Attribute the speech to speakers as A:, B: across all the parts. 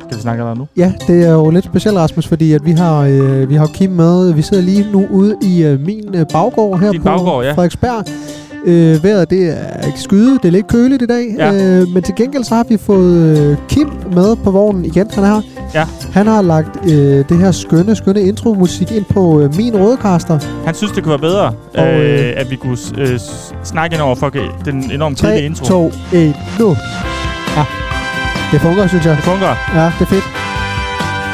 A: Skal vi snakke om nu?
B: Ja, det er jo lidt specielt, Rasmus, fordi at vi har øh, vi har Kim med. Vi sidder lige nu ude i øh, min øh, baggård her
A: Din
B: på
A: baggård, ja.
B: Frederiksberg. Øh, vejret det er ikke skyde, det er lidt køligt i dag,
A: Ja.
B: øh, men til gengæld så har vi fået øh, Kim med på vognen igen, han er her.
A: Ja.
B: Han har lagt øh, det her skønne, skønne intromusik ind på øh, min rødkaster.
A: Han synes, det kunne være bedre,
B: Og,
A: øh,
B: øh,
A: at vi kunne s- øh, s- snakke ind over for okay, den enormt tidlige
B: 3,
A: intro.
B: 2, 1, nu. Ja, det fungerer, synes jeg.
A: Det fungerer.
B: Ja, det er fedt.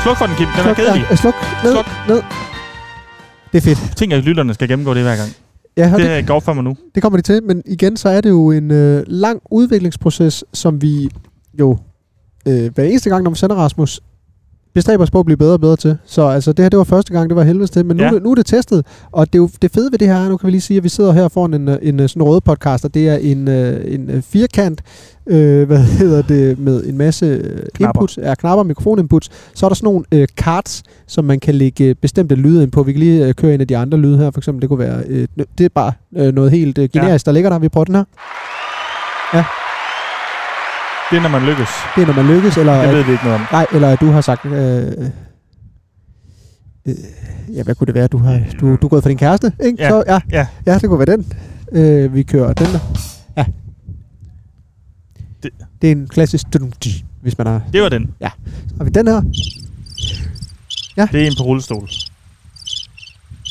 A: Sluk for den, Kim. Den er kedelig.
B: ja, sluk, ned,
A: Sluk.
B: ned. Det er fedt.
A: Tænk, at lytterne skal gennemgå det hver gang.
B: Ja, og
A: Det er godt for mig nu.
B: Det kommer de til, men igen så er det jo en øh, lang udviklingsproces, som vi jo øh, hver eneste gang, når vi sender Rasmus, bestræber os på at blive bedre og bedre til. Så altså, det her det var første gang, det var helvedes til, men nu,
A: Ja.
B: ja. nu er det testet. Og det, er jo, det fede ved det her er, nu kan vi lige sige, at vi sidder her foran en, øh, en øh, sådan røde podcast, og det er en, øh, en øh, firkant, øh, hvad hedder det, med en masse øh,
A: Knapper.
B: inputs, er knapper, mikrofoninputs. Så er der sådan nogle øh, cards, som man kan lægge øh, bestemte lyde ind på. Vi kan lige øh, køre en af de andre lyde her, for eksempel. Det kunne være, øh, det er bare øh, noget helt øh, generisk, ja. der ligger der. Vi prøver den her.
A: Det er, når man lykkes.
B: Det er, når man lykkes, eller...
A: Det ved vi ikke noget om.
B: Nej, eller at du har sagt... Øh, øh, ja, hvad kunne det være? Du har du, du er gået for din kæreste, ikke?
A: Øh, Ja,
B: Så, ja,
A: ja.
B: ja, det kunne være den. Øh, vi kører den der. Ja.
A: Det-
B: Det, det er en klassisk... dum, di, Hvis man har...
A: Det var den.
B: Så har vi den her.
A: Det er en på rullestol,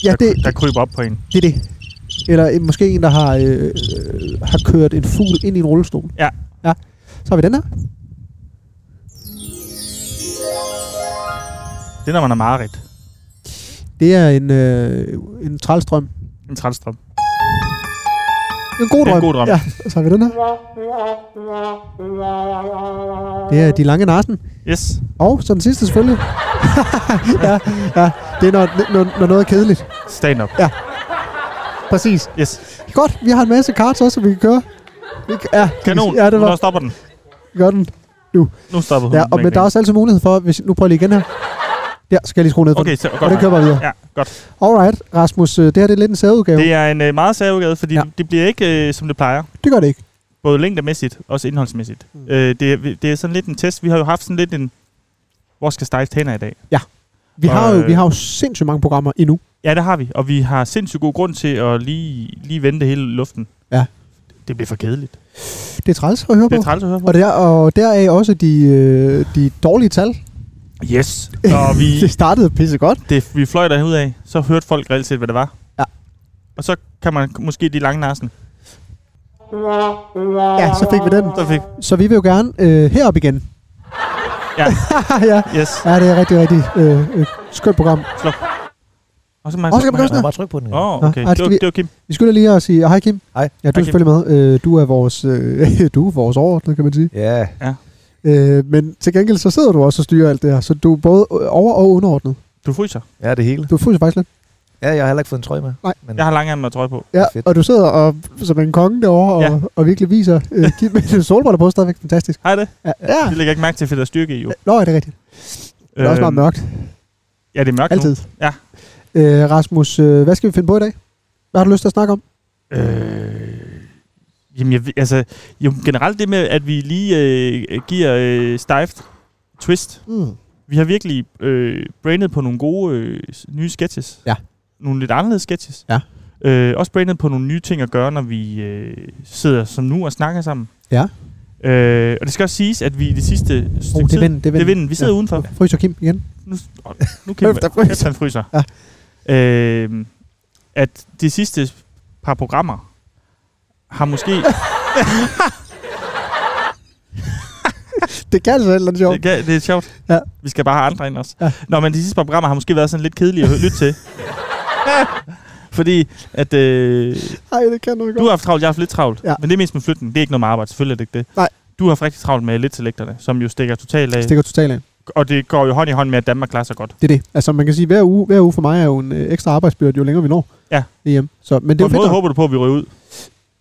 B: Ja,
A: der,
B: det,
A: der kryber op på en.
B: det er det. Eller en, måske en, der har, øh, øh, har kørt en fugl ind i en rullestol.
A: Ja.
B: ja. Så har vi den her.
A: Det er, når man har mareridt.
B: Det er en, øh, en trælstrøm.
A: En trælstrøm.
B: En god
A: Det er en
B: drøm.
A: god drøm.
B: Ja, og så har vi den her. Det er de lange narsen.
A: Yes.
B: Og så den sidste selvfølgelig. ja, ja, det er når, når, når noget er kedeligt.
A: Stand up.
B: Præcis.
A: Yes.
B: Godt, vi har en masse karts også, som vi kan køre. Vi kan- Ja,
A: Kanon.
B: Ja, det
A: Nu
B: var
A: stopper den.
B: godt. den.
A: Nu stopper hun.
B: Ja, og, men der er også altid mulighed for, hvis, nu prøver jeg lige igen her. Der skal jeg lige skrue ned for
A: Okay,
B: den.
A: så
B: Og
A: godt.
B: det kører bare videre.
A: Ja, godt.
B: Alright, Rasmus, øh, det her det er lidt en særudgave.
A: Det er en øh, meget særudgave, fordi ja.
B: Ja.
A: det bliver ikke, øh, som det plejer.
B: det gør det ikke.
A: Både længdemæssigt, også indholdsmæssigt. Mm.
B: Mm.
A: Øh, det, er- det er sådan lidt en test. Vi har jo haft sådan lidt en... Hvor skal stejft hen i dag?
B: Vi har, jo,
A: Øh.
B: vi har jo sindssygt mange programmer endnu.
A: Ja, det har vi. Og vi har sindssygt god grund til at lige, lige vende det hele i luften.
B: Ja.
A: Det bliver for kedeligt.
B: Det er træls at høre på.
A: Det er træls at høre på.
B: Og, der, og deraf også de, øh, de dårlige tal.
A: Yes. Og vi,
B: det startede pisse godt.
A: det, vi fløj derud af, så hørte folk reelt set, hvad det var.
B: Ja.
A: Og så kan man måske de lange narsen.
B: Ja, så fik vi den.
A: Så fik...
B: Så vi vil jo gerne øh, herop igen.
A: Ja.
B: ja.
A: Yes.
B: ja, det er rigtig, rigtig øh, øh, skønt program.
A: Og så man...
B: Og så kan man gøre
C: Jeg må
B: sådan
C: bare trykke på den.
A: Åh,
C: Oh.
A: oh, okay.
B: Nå, ej,
A: Det var,
B: skal vi-
A: det var Kim.
B: Vi skylder lige at sige hej Kim.
C: Hej.
B: Ja, du er
A: Kim.
B: selvfølgelig med. Øh, du er vores, øh, du er vores overordnede, kan man sige.
C: Ja,
B: Øh, men til gengæld så sidder du også og styrer alt det her, så du er både over- og underordnet.
A: Du fryser.
C: ja, det hele.
B: Du er fuldstændig faktisk lidt.
C: Ja, jeg har heller ikke fået en trøje med.
B: Nej.
C: Men
A: Jeg har langærmet og trøje på.
B: Ja,
C: Fedt.
B: og du sidder og, som en konge derovre og,
A: Ja.
B: ja. og virkelig viser øh, Kim med solbriller på stadigvæk. Fantastisk.
A: Hej det.
B: Ja. ja.
A: Det lægger jeg ikke mærke til, for der er styrke i jo.
B: Nå, er det rigtigt. Det er også
A: Øhm,
B: meget mørkt.
A: Ja, det er mørkt
B: Altid.
A: Ja.
B: Øh, Rasmus, øh, hvad skal vi finde på i dag? Hvad har du lyst til at snakke om?
A: nu. Øh, jamen, jeg, ved- altså, jo, generelt det med, at vi lige øh, giver øh, Stift twist.
B: Mm.
A: Vi har virkelig øh, brainet på nogle gode øh, s- nye sketches.
B: Ja.
A: Nogle lidt anderledes sketches.
B: Ja.
A: Øh, også brainet på nogle nye ting at gøre, når vi øh, sidder som nu og snakker sammen.
B: Ja.
A: Øh, og det skal også siges, at vi i det sidste stykke
B: Oh, det er
A: tid...
B: vinden. Det
A: Det er
B: er vinden.
A: vinden. Vi sidder ja. udenfor.
B: Fryser Kim igen.
A: nu, åh, nu kan
B: Kæft, der
A: man,
B: fryser.
A: kæft, han fryser. Ja. Øh, at de sidste par programmer har måske...
B: Det kan altså et eller andet sjovt.
A: det, kan- det er sjovt.
B: Ja.
A: Vi skal bare have andre ind også. Ja.
B: Ja.
A: Nå, men de sidste par programmer har måske været sådan lidt kedelige at hø- lytte til. Fordi at øh,
B: Nej, det kan noget
A: du har haft travlt, jeg har haft lidt travlt. Ja.
B: Ja.
A: Men det er mest med flytning. Det er ikke noget med arbejde, selvfølgelig er det ikke det.
B: Nej.
A: Du har haft rigtig travlt med lidt selekterne, som jo stikker totalt af.
B: Stikker totalt af.
A: Og det går jo hånd i hånd med, at Danmark klarer sig godt.
B: Det er det. Altså, man kan sige, hver uge, hver uge for mig er jo en øh, ekstra arbejdsbyrde, jo længere vi når.
A: Ja.
B: EM. Så, men det
A: På
B: er
A: en
B: jo
A: måde
B: fedt. nok.
A: håber du på, at vi ryger ud.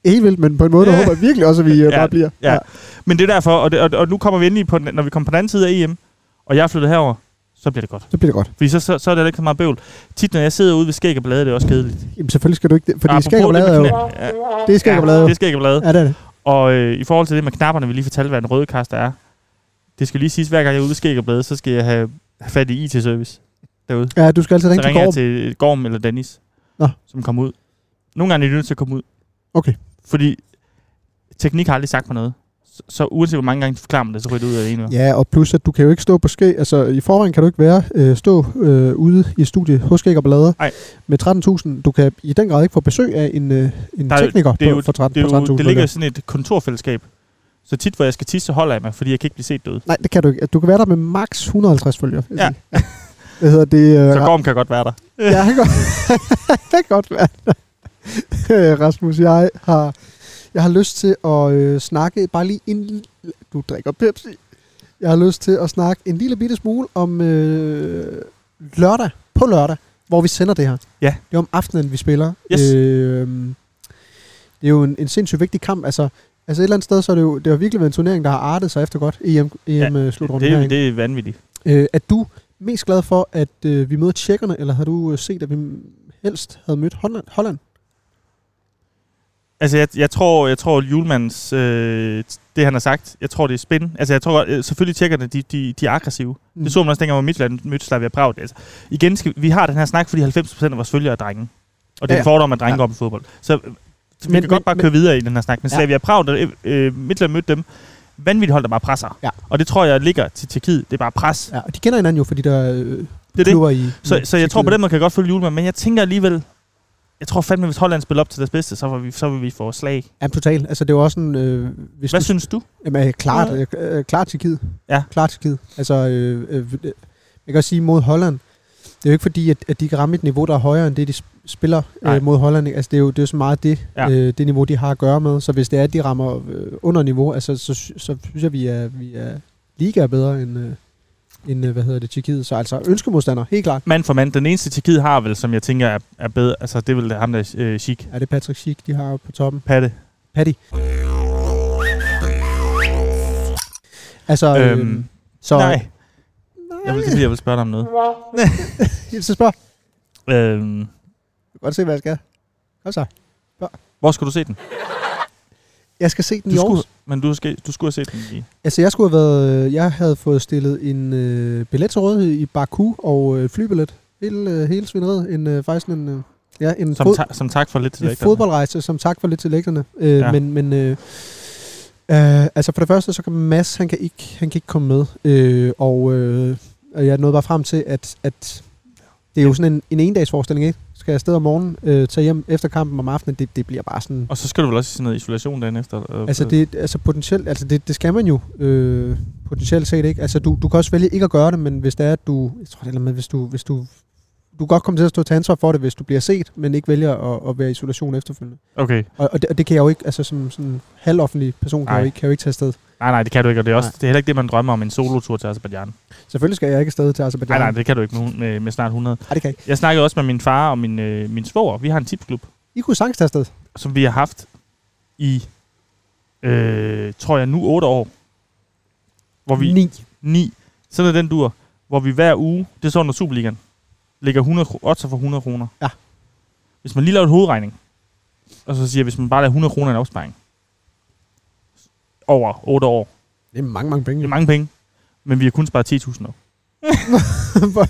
B: Helt vildt, men på en måde, der
A: Ja.
B: håber jeg virkelig også, at vi øh,
A: Ja.
B: bare bliver.
A: Ja. Men det er derfor, og, det, og, og nu kommer vi endelig på, den, når vi kommer på den anden side af EM, og jeg er flyttet herover, så bliver det godt.
B: Så bliver det godt.
A: Fordi så, så, så er der ikke så meget bøvl. Tit, når jeg sidder ude ved skæg og blade, det er også kedeligt.
B: Jamen, selvfølgelig skal du ikke det, fordi
A: Apropos
B: skæg og blade er
A: det
B: jo...
A: med knæ- ja,
B: Det er skæg og blade
A: ja,
B: jo.
A: Det er skæg og blade.
B: Ja, det er det.
A: Og øh, i forhold til det med knapperne, vi lige fortalte, hvad en røde kaster er. Det skal lige siges, hver gang jeg er ude og skæg og blade, så skal jeg have have fat i IT-service derude.
B: Ja, du skal altid
A: Så
B: ringe til
A: ringer jeg
B: Gorm.
A: til Gorm eller Dennis,
B: Nå.
A: som kommer ud. Nogle gange er de nødt til at komme ud.
B: Okay.
A: Fordi teknik har aldrig sagt mig noget. Så, så uanset hvor mange gange de forklarer mig det, så ryger det ud af det ene. Ja.
B: Ja, og plus at du kan jo ikke stå på skæg. Altså i forvejen kan du ikke være øh, stå øh, ude i studiet hos skæg og blader
A: Ej.
B: med 13.000. Du kan i den grad ikke få besøg af en, øh, en
A: Der er jo-
B: tekniker
A: det er
B: på,
A: jo-
B: for 13.000.
A: Det, er jo, det ligger i
B: medlemmer.
A: sådan et kontorfællesskab. Så tit, hvor jeg skal tisse, så holder jeg mig, fordi jeg kan ikke blive set derude.
B: Nej, det kan du ikke. Du kan være der med maks 150 følgere. vil jeg
A: Ja.
B: sige. Hvad hedder det? Øh,
A: Så Gorm kan godt være der.
B: Ja, det kan godt- det kan godt være. Øh, Rasmus, jeg har, jeg har lyst til at øh, snakke, bare lige en lille- du drikker Pepsi. Jeg har lyst til at snakke en lille bitte smule om øh, lørdag, på lørdag, hvor vi sender det her.
A: Ja.
B: Det er om aftenen, vi spiller.
A: Yes.
B: Øh, det er jo en, en sindssygt vigtig kamp. Altså, altså et eller andet sted, så er det jo, det har virkelig været en turnering, der har artet sig efter godt E EM,
A: Ja,
B: EM ja, øh, slutrunden
A: Det,
B: her.
A: er,
B: ikke?
A: det er vanvittigt.
B: Øh, er du mest glad for, at øh, vi møder tjekkerne, eller har du øh, set, at vi m- helst havde mødt Holland? Holland?
A: Altså, jeg, jeg tror, jeg tror Julmans, øh, det han har sagt, jeg tror, det er spin. Altså, jeg tror godt- øh, selvfølgelig tjekkerne, de, de, de er aggressive. Mm. Det så man også dengang, hvor Midtland mødte Slavia Prag. Altså, igen, skal, vi- vi har den her snak, fordi 90% af vores følgere er drenge. Og det er
B: Ja.
A: en fordom, at drenge
B: Ja.
A: ja. går op i fodbold. Så øh, vi
B: Men-
A: men, kan godt bare
B: men-
A: køre videre i den her snak. Men
B: Ja.
A: Slavia Prag, der, øh, Midtland mødte dem, vanvittigt hold, der bare presser.
B: Ja.
A: Og det tror jeg ligger til Tjekkiet. Det er bare pres.
B: Ja, og de kender hinanden jo, fordi der øh,
A: Det er det.
B: klubber i...
A: Så,
B: i
A: så jeg tror på
B: Tjekkiet.
A: den måde kan jeg godt følge Julemand, men jeg tænker alligevel, jeg tror fandme, hvis Holland spiller op til deres bedste, så vil vi, så vil vi få slag.
B: Jamen totalt. Altså det er jo også sådan... Øh, hvis
A: Hvad
B: du,
A: synes du?
B: jamen, øh, klart, øh, øh, klart til kid.
A: Ja.
B: Klart til kid. Altså, øh, øh, øh, jeg kan også sige mod Holland. Det er jo ikke fordi, at, at de kan ramme et niveau, der er højere end det, de sp- spiller
A: Nej.
B: øh, mod Holland. ikke? Altså, det er jo, det er jo så meget det,
A: Ja.
B: ja. øh, det niveau, de har at gøre med. Så hvis det er, at de rammer øh, under niveau, altså, så, sy- så synes jeg, vi er, vi er liga er bedre end, øh, end øh, hvad hedder det, Tjekkiet. Så altså ønskemodstander, helt klart.
A: Mand for mand. Den eneste Tjekkiet har vel, som jeg tænker er, er bedre, altså det er vel ham der øh, chic.
B: Er det Patrick Schick, de har oppe på toppen?
A: Patte.
B: Patty. Altså, øhm,
A: Øhm,
B: så...
A: Nej. Jeg vil, det er fordi, jeg vil spørge dig om noget.
B: Så spørg.
A: Øhm,
B: Du kan godt se, hvad jeg skal. Kom så.
A: hvor skal du se den?
B: Jeg skal se den
A: Du
B: i Aarhus.
A: skulle, men du, skal, du skulle have set den i...
B: Altså, jeg skulle have været... øh, Jeg havde fået stillet en øh, billet til rådighed i Baku og øh, flybillet. Hele, øh, hele svineriet. En, øh, faktisk en... Øh, ja, en,
A: Som,
B: fod,
A: ta- som tak for lidt til
B: en
A: dig. Fodbold.
B: fodboldrejse, som tak for lidt til lægterne. Øh,
A: Ja.
B: ja. Men... men øh, øh, altså, for det første, så kan Mads, han kan ikke, han kan ikke komme med. Øh, og, øh, og jeg nåede bare frem til, at... at det er jo sådan en, en endagsforestilling, ikke? Skal jeg afsted om morgenen, øh, tage hjem efter kampen om aftenen, det, det bliver bare sådan
A: Og så skal du vel også i sådan noget isolation dagen efter? Øh,
B: Altså, det, altså potentielt, altså det, det skal man jo øh, potentielt set ikke. Altså, du, du kan også vælge ikke at gøre det, men hvis det er, at du, jeg tror det eller andet, hvis du, hvis du, du kan godt komme til at stå til ansvar for det, hvis du bliver set, men ikke vælger at, at være i isolation efterfølgende.
A: Okay.
B: Og, og, det, og det kan jeg jo ikke, altså som sådan en halvoffentlig person, kan jeg,
A: Nej.
B: jo ikke, kan jeg jo ikke tage afsted.
A: Nej, nej, det kan du ikke. Og det er, også,
B: Nej.
A: det er heller ikke det, man drømmer om en solotur til Azerbaijan.
B: Selvfølgelig skal jeg ikke afsted til Azerbaijan.
A: Nej, nej, det kan du ikke med, hun- med, med snart 100.
B: nej, det kan jeg ikke.
A: Jeg snakkede også med min far og min, øh, min svoger. Vi har en tipsklub,
B: I kunne sagtens tage afsted.
A: som vi har haft i, øh, tror jeg nu, 8 år. Hvor vi,
B: Ni.
A: 9. Sådan er den dur, hvor vi hver uge, det er sådan under Superligaen, lægger 100 kro- odds for 100 kroner.
B: Ja.
A: Hvis man lige laver en hovedregning, og så siger jeg, hvis man bare lader 100 kroner i en opsparing, over 8 år,
B: Det er mange, mange penge.
A: det er mange penge, men vi har kun sparet 10.000 år.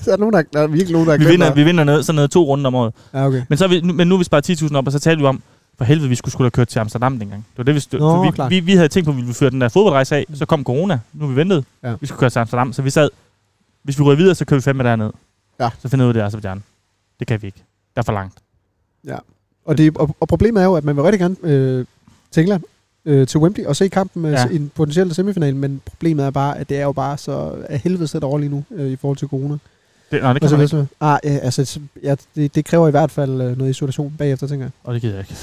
B: der er nogen, der, der er virkelig nogen, der er
A: Vi
B: glemt
A: vinder,
B: noget.
A: vi vinder noget, sådan noget to runder om året.
B: Ja, okay.
A: Men, så er vi, nu- men nu har vi sparet 10.000 op, og så talte vi om, for helvede, vi skulle skulle have kørt til Amsterdam dengang. Det var det, vi, stod,
B: Nå,
A: for
B: klart. Mm.
A: vi, vi, vi, havde tænkt på, at vi ville føre den der fodboldrejse af, så kom corona, nu har vi ventet,
B: Ja.
A: vi skulle køre til Amsterdam, så vi sad, hvis vi rører videre, så kører vi fandme derned.
B: Ja.
A: Så finder vi ud af det, er Azerbaijan. Det kan vi ikke. Der er for langt.
B: Og, det, og, og problemet er jo, at man vil rigtig gerne øh, til England, øh, til Wembley, og se kampen øh,
A: Ja.
B: ja. i en potentiel semifinal, men problemet er bare, at det er jo bare så af helvede sæt over lige nu, øh, i forhold til corona.
A: Det, nej, det
B: Og
A: kan
B: så
A: man ikke,
B: videre. Ah, ja, altså, så- ja, det, det kræver i hvert fald øh, noget isolation bagefter, tænker jeg.
A: og det gider jeg ikke.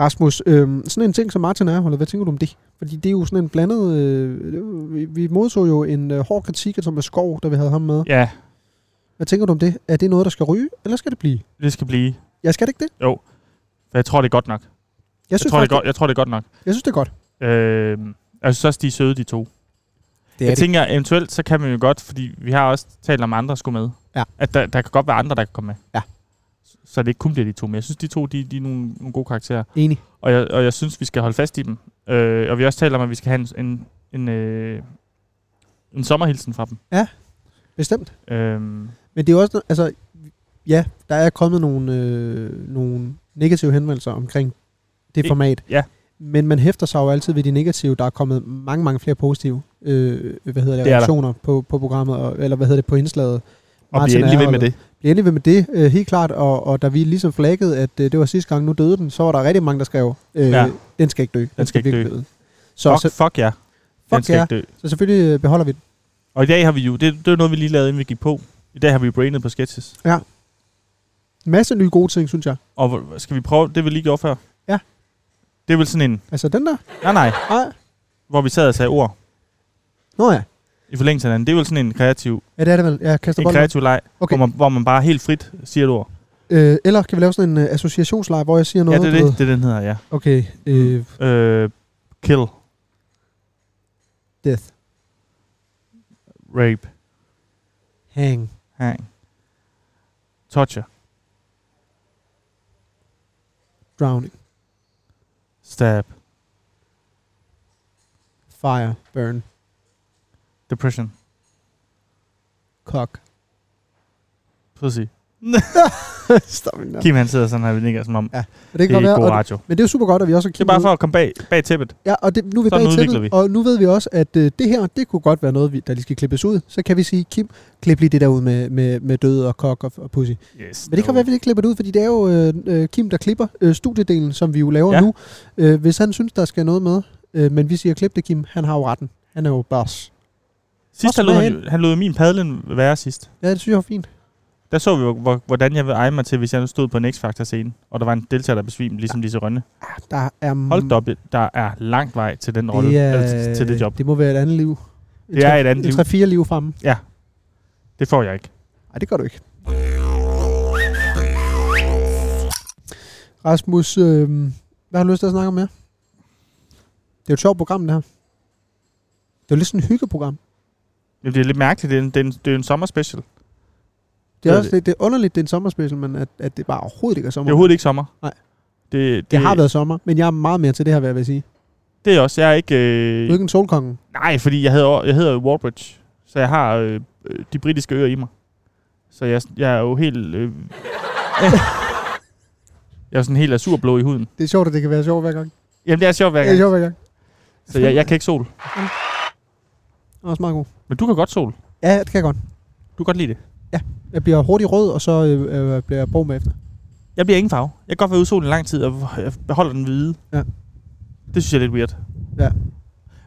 B: Rasmus, øh, sådan en ting som Martin er, holder, hvad tænker du om det? Fordi det er jo sådan en blandet... Øh, det var- vi, vi modtog jo en øh, hård kritik af Thomas Skov, da vi havde ham med.
A: Ja,
B: Hvad tænker du om det? Er det noget, der skal ryge, eller skal det blive?
A: det skal blive.
B: Jeg skal det ikke det.
A: For jeg tror, det er godt nok. Jeg,
B: Jeg
A: jeg,
B: synes,
A: tror, det
B: faktisk,
A: er godt, jeg tror, det er godt nok.
B: jeg synes, det er godt.
A: Øh, jeg synes også, de er søde, de to.
B: Det
A: Jeg tænker, eventuelt, så kan man jo godt, fordi vi har også talt om, at andre skulle med.
B: Ja.
A: At der, der kan godt være andre, der kan komme med.
B: Ja.
A: Så det ikke kun bliver de to, men jeg synes, de to, de, de er nogle, nogle gode karakterer.
B: Enig.
A: Og jeg, og jeg synes, vi skal holde fast i dem. Øh, og vi har også talt om, at vi skal have en, en, en, øh, en sommerhilsen fra dem.
B: Bestemt.
A: Øh,
B: Men det er jo også, no- altså, ja, der er kommet nogle, øh, nogle negative henvendelser omkring det
A: I-
B: format.
A: ja.
B: Men man hæfter sig jo altid ved de negative. Der er kommet mange, mange flere positive øh, hvad hedder det,
A: Det er der.
B: reaktioner på, på programmet, og, eller hvad hedder det, på indslaget.
A: og
B: Martin
A: blive endelig ved med
B: Erhold.
A: det.
B: Bliv endelig ved med det, øh, helt klart. Og, og da vi ligesom flaggede, at øh, det var sidste gang, nu døde den, så var der rigtig mange, der skrev, øh,
A: Ja.
B: ja. den skal ikke dø. Den,
A: skal ikke
B: virkelig
A: dø."
B: Så,
A: fuck,
B: så,
A: fuck ja. Den
B: fuck
A: skal
B: ja.
A: ikke dø.
B: så selvfølgelig øh, beholder vi den.
A: Og i dag har vi jo, det, det er noget, vi lige lavede, inden vi gik på. I dag har vi jo brainet på sketches.
B: En masse nye gode ting, synes jeg.
A: Og hvor- skal vi prøve det, vi lige gjorde før?
B: Ja.
A: Det er vel sådan en,
B: Altså den der?
A: nej nej,
B: Nej.
A: hvor vi sad og sagde ord
B: Nå ja.
A: i forlængelse af hinanden. Det er vel sådan en kreativ,
B: Ja, det er det vel. Jeg kaster
A: en
B: bolden.
A: kreativ leg,
B: Okay.
A: okay. hvor, man, hvor man bare helt frit siger et ord.
B: Øh, eller kan vi lave sådan en øh, associationsleje, hvor jeg siger
A: Ja,
B: noget?
A: det er
B: du ved?
A: det, det er den hedder, ja.
B: Okay. Øh,
A: Øh, kill,
B: death.
A: rape,
B: Hang.
A: hang, torture,
B: Drowning.
A: stab,
B: Fire. Burn.
A: depression,
B: Cock.
A: pussy.
B: Stop nu.
A: Kim han sidder sådan her, vi nikker som om,
B: Ja,
A: ja,
B: Og det
A: det
B: kan godt
A: er
B: være.
A: god
B: Og,
A: radio.
B: men det er jo super godt, at vi også har
A: Det er
B: kigget
A: bare
B: ud.
A: for at komme bag, bag tæppet.
B: Ja, og det, nu er vi
A: Sådan
B: bag
A: udvikler
B: til
A: vi.
B: det, og nu ved vi også, at øh, det her, det kunne godt være noget, vi, der lige skal klippes ud. Så kan vi sige, Kim, klip lige det der ud med, med, med død og kok og, og pussy.
A: Yes,
B: Men det kan være, at vi ikke klipper det ud, fordi det er jo øh, øh, Kim, der klipper øh, studiedelen, som vi jo laver ja.
A: Ja.
B: nu. Øh, hvis han synes, der skal noget med, øh, men vi siger, klip det, Kim, han har jo retten. Han er jo boss.
A: Sidst han
B: Også
A: lod,
B: med
A: han, jo- han lod min padlen være sidst.
B: Ja, det synes jeg er fint.
A: Der så vi, hvor- hvor, hvordan jeg ville eje mig til, hvis jeg nu stod på en X-Factor-scene, og der var en deltager, der besvimte, ligesom Lise Rønne.
B: Ah, Der er,
A: Hold da op, der er lang vej til den rolle,
B: er-
A: eller til det job.
B: Det må være et andet liv. Et
A: Det er et andet liv.
B: Et 3-4 liv fremme.
A: Det får jeg ikke.
B: Nej, det gør du ikke. Rasmus, øh, hvad har du lyst til at snakke om mere? Det er jo et sjovt program, det her. Det er jo lidt sådan et hyggeprogram.
A: Jamen, det er lidt mærkeligt, det er en, det er en, det er en sommerspecial. Det
B: Det
A: Det
B: er,
A: er
B: også, det, det er underligt, det er en sommerspecial, men at, at det bare overhovedet ikke er sommer.
A: er overhovedet ikke sommer.
B: Nej.
A: Det, det,
B: det har været sommer, men jeg er meget mere til det her, vil jeg vil sige.
A: Det er også, jeg er ikke...
B: Du
A: Øh,
B: er ikke en solkonge.
A: Nej, fordi jeg hedder, jeg hedder Warbridge, så jeg har øh, øh, de britiske øer i mig. Så jeg, jeg er jo helt... Øh, jeg er sådan helt azurblå i huden.
B: Det er sjovt, at det kan være sjovt hver gang.
A: Jamen, det er sjovt hver
B: Det er
A: gang.
B: sjovt hver gang.
A: Så jeg, jeg kan ikke sol.
B: Det er også meget god.
A: Men du kan godt sol.
B: Ja, det kan jeg godt.
A: Du kan godt lide det.
B: Jeg bliver hurtigt rød, og så øh, øh, bliver jeg brun bagefter.
A: Jeg bliver ingen farve. Jeg kan godt være ude i solen i lang tid, og jeg beholder den hvide.
B: Ja.
A: Det synes jeg er lidt weird.
B: Ja.
A: Men,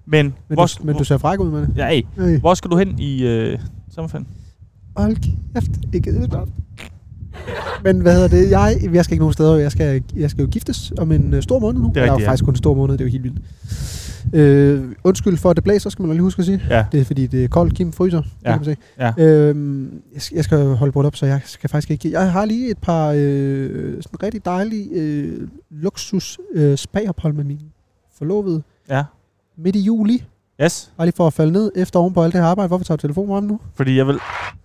B: Men,
A: hvor,
B: du, men du ser fræk ud med det.
A: hvor, ja, hey,
B: Øh.
A: hvor skal du hen i øh, sommerferien?
B: Hold kæft, det gider godt. Men hvad hedder det? Jeg, jeg skal ikke nogen steder. Jeg skal, jeg skal jo giftes om en øh, stor måned nu.
A: Det er
B: Eller
A: rigtigt, ja.
B: faktisk kun en stor måned. Det er jo helt vildt. Øh, undskyld for, at det blæser, skal man lige huske at sige.
A: Ja.
B: Det er fordi, det er koldt. Kim fryser.
A: Ja,
B: Det kan man se.
A: ja.
B: Øh, jeg, skal, jeg skal holde brudt op, så jeg skal faktisk ikke... Jeg har lige et par øh, sådan rigtig dejlige øh, luksus øh, spagophold med min forlovede
A: Ja.
B: midt i juli.
A: Yes.
B: Bare lige for at falde ned efter oven på alt det her arbejde. Hvorfor tager du telefonen frem nu?
A: Fordi jeg vil...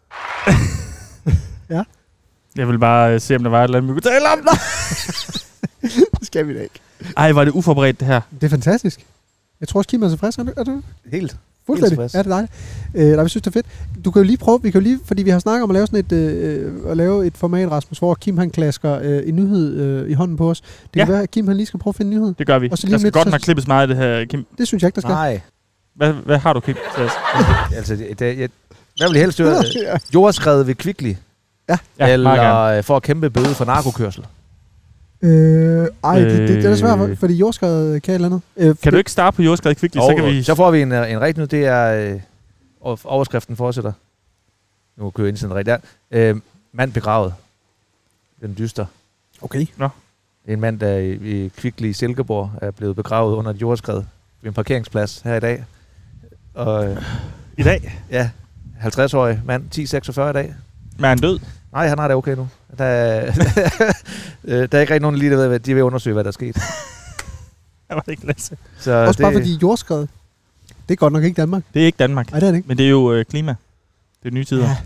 B: Ja.
A: Jeg vil bare øh, se, om der var et eller andet, vi kunne tale om.
B: Det skal vi da ikke.
A: Ej, var det uforberedt, det her.
B: Det er fantastisk. Jeg tror også, Kim er tilfreds. Er du, er du
C: Helt.
B: fuldstændig?
C: tilfreds.
B: Ja, det er dejligt. Øh, nej, vi synes, det er fedt. Du kan jo lige prøve, vi kan jo lige, fordi vi har snakket om at lave sådan et, øh, at lave et format, Rasmus, hvor Kim han klasker øh, en nyhed øh, i hånden på os. Det
A: Ja.
B: kan være, at Kim han lige skal prøve at finde en nyhed.
A: Det gør vi.
B: Og så lige
A: Der
B: om
A: skal
B: lidt,
A: godt
B: så-
A: nok klippes meget af det her, Kim.
B: Det synes jeg ikke, der skal.
C: Nej.
A: Hvad, hvad har du, Kim? til os?
C: Altså, det, det, jeg, hvad vil jeg helst høre?
B: Ja.
C: Jordskredet ved Kvickly?
A: Ja,
C: eller
A: meget gerne.
C: øh, for at kæmpe bøde for narkokørsel?
B: Øh, ej, det, det, det, er da svært, for-
A: Øh.
B: fordi jordskredet kan et eller andet. Øh,
A: Kan du ikke starte på jordskredet kvickligt, så kan vi...
C: så får vi en, øh, en rigtig nu, det er... Øh, over- overskriften fortsætter. Nu kører jeg ind til den rigtige der. Øh, mand begravet. Den dyster.
B: Okay.
C: Det er en mand, der i, i Kvickly i Silkeborg er blevet begravet under et jordskred ved en parkeringsplads her i dag. Og øh,
A: I dag.
C: ja, 50-årig mand, 10-46 i dag.
A: Men er han død?
C: Nej, han har det okay nu. Der, er- Øh, der er ikke rigtig nogen lige, der ved, hvad- de vil undersøge, hvad der er sket.
A: Jeg var ikke Lasse.
C: Så
B: Også
C: det,
B: bare fordi jordskredet, det er godt nok ikke Danmark.
A: Det er ikke Danmark.
B: Nej, det er det ikke.
A: Men det er jo øh, klima. Det er nye tider.
B: Ja.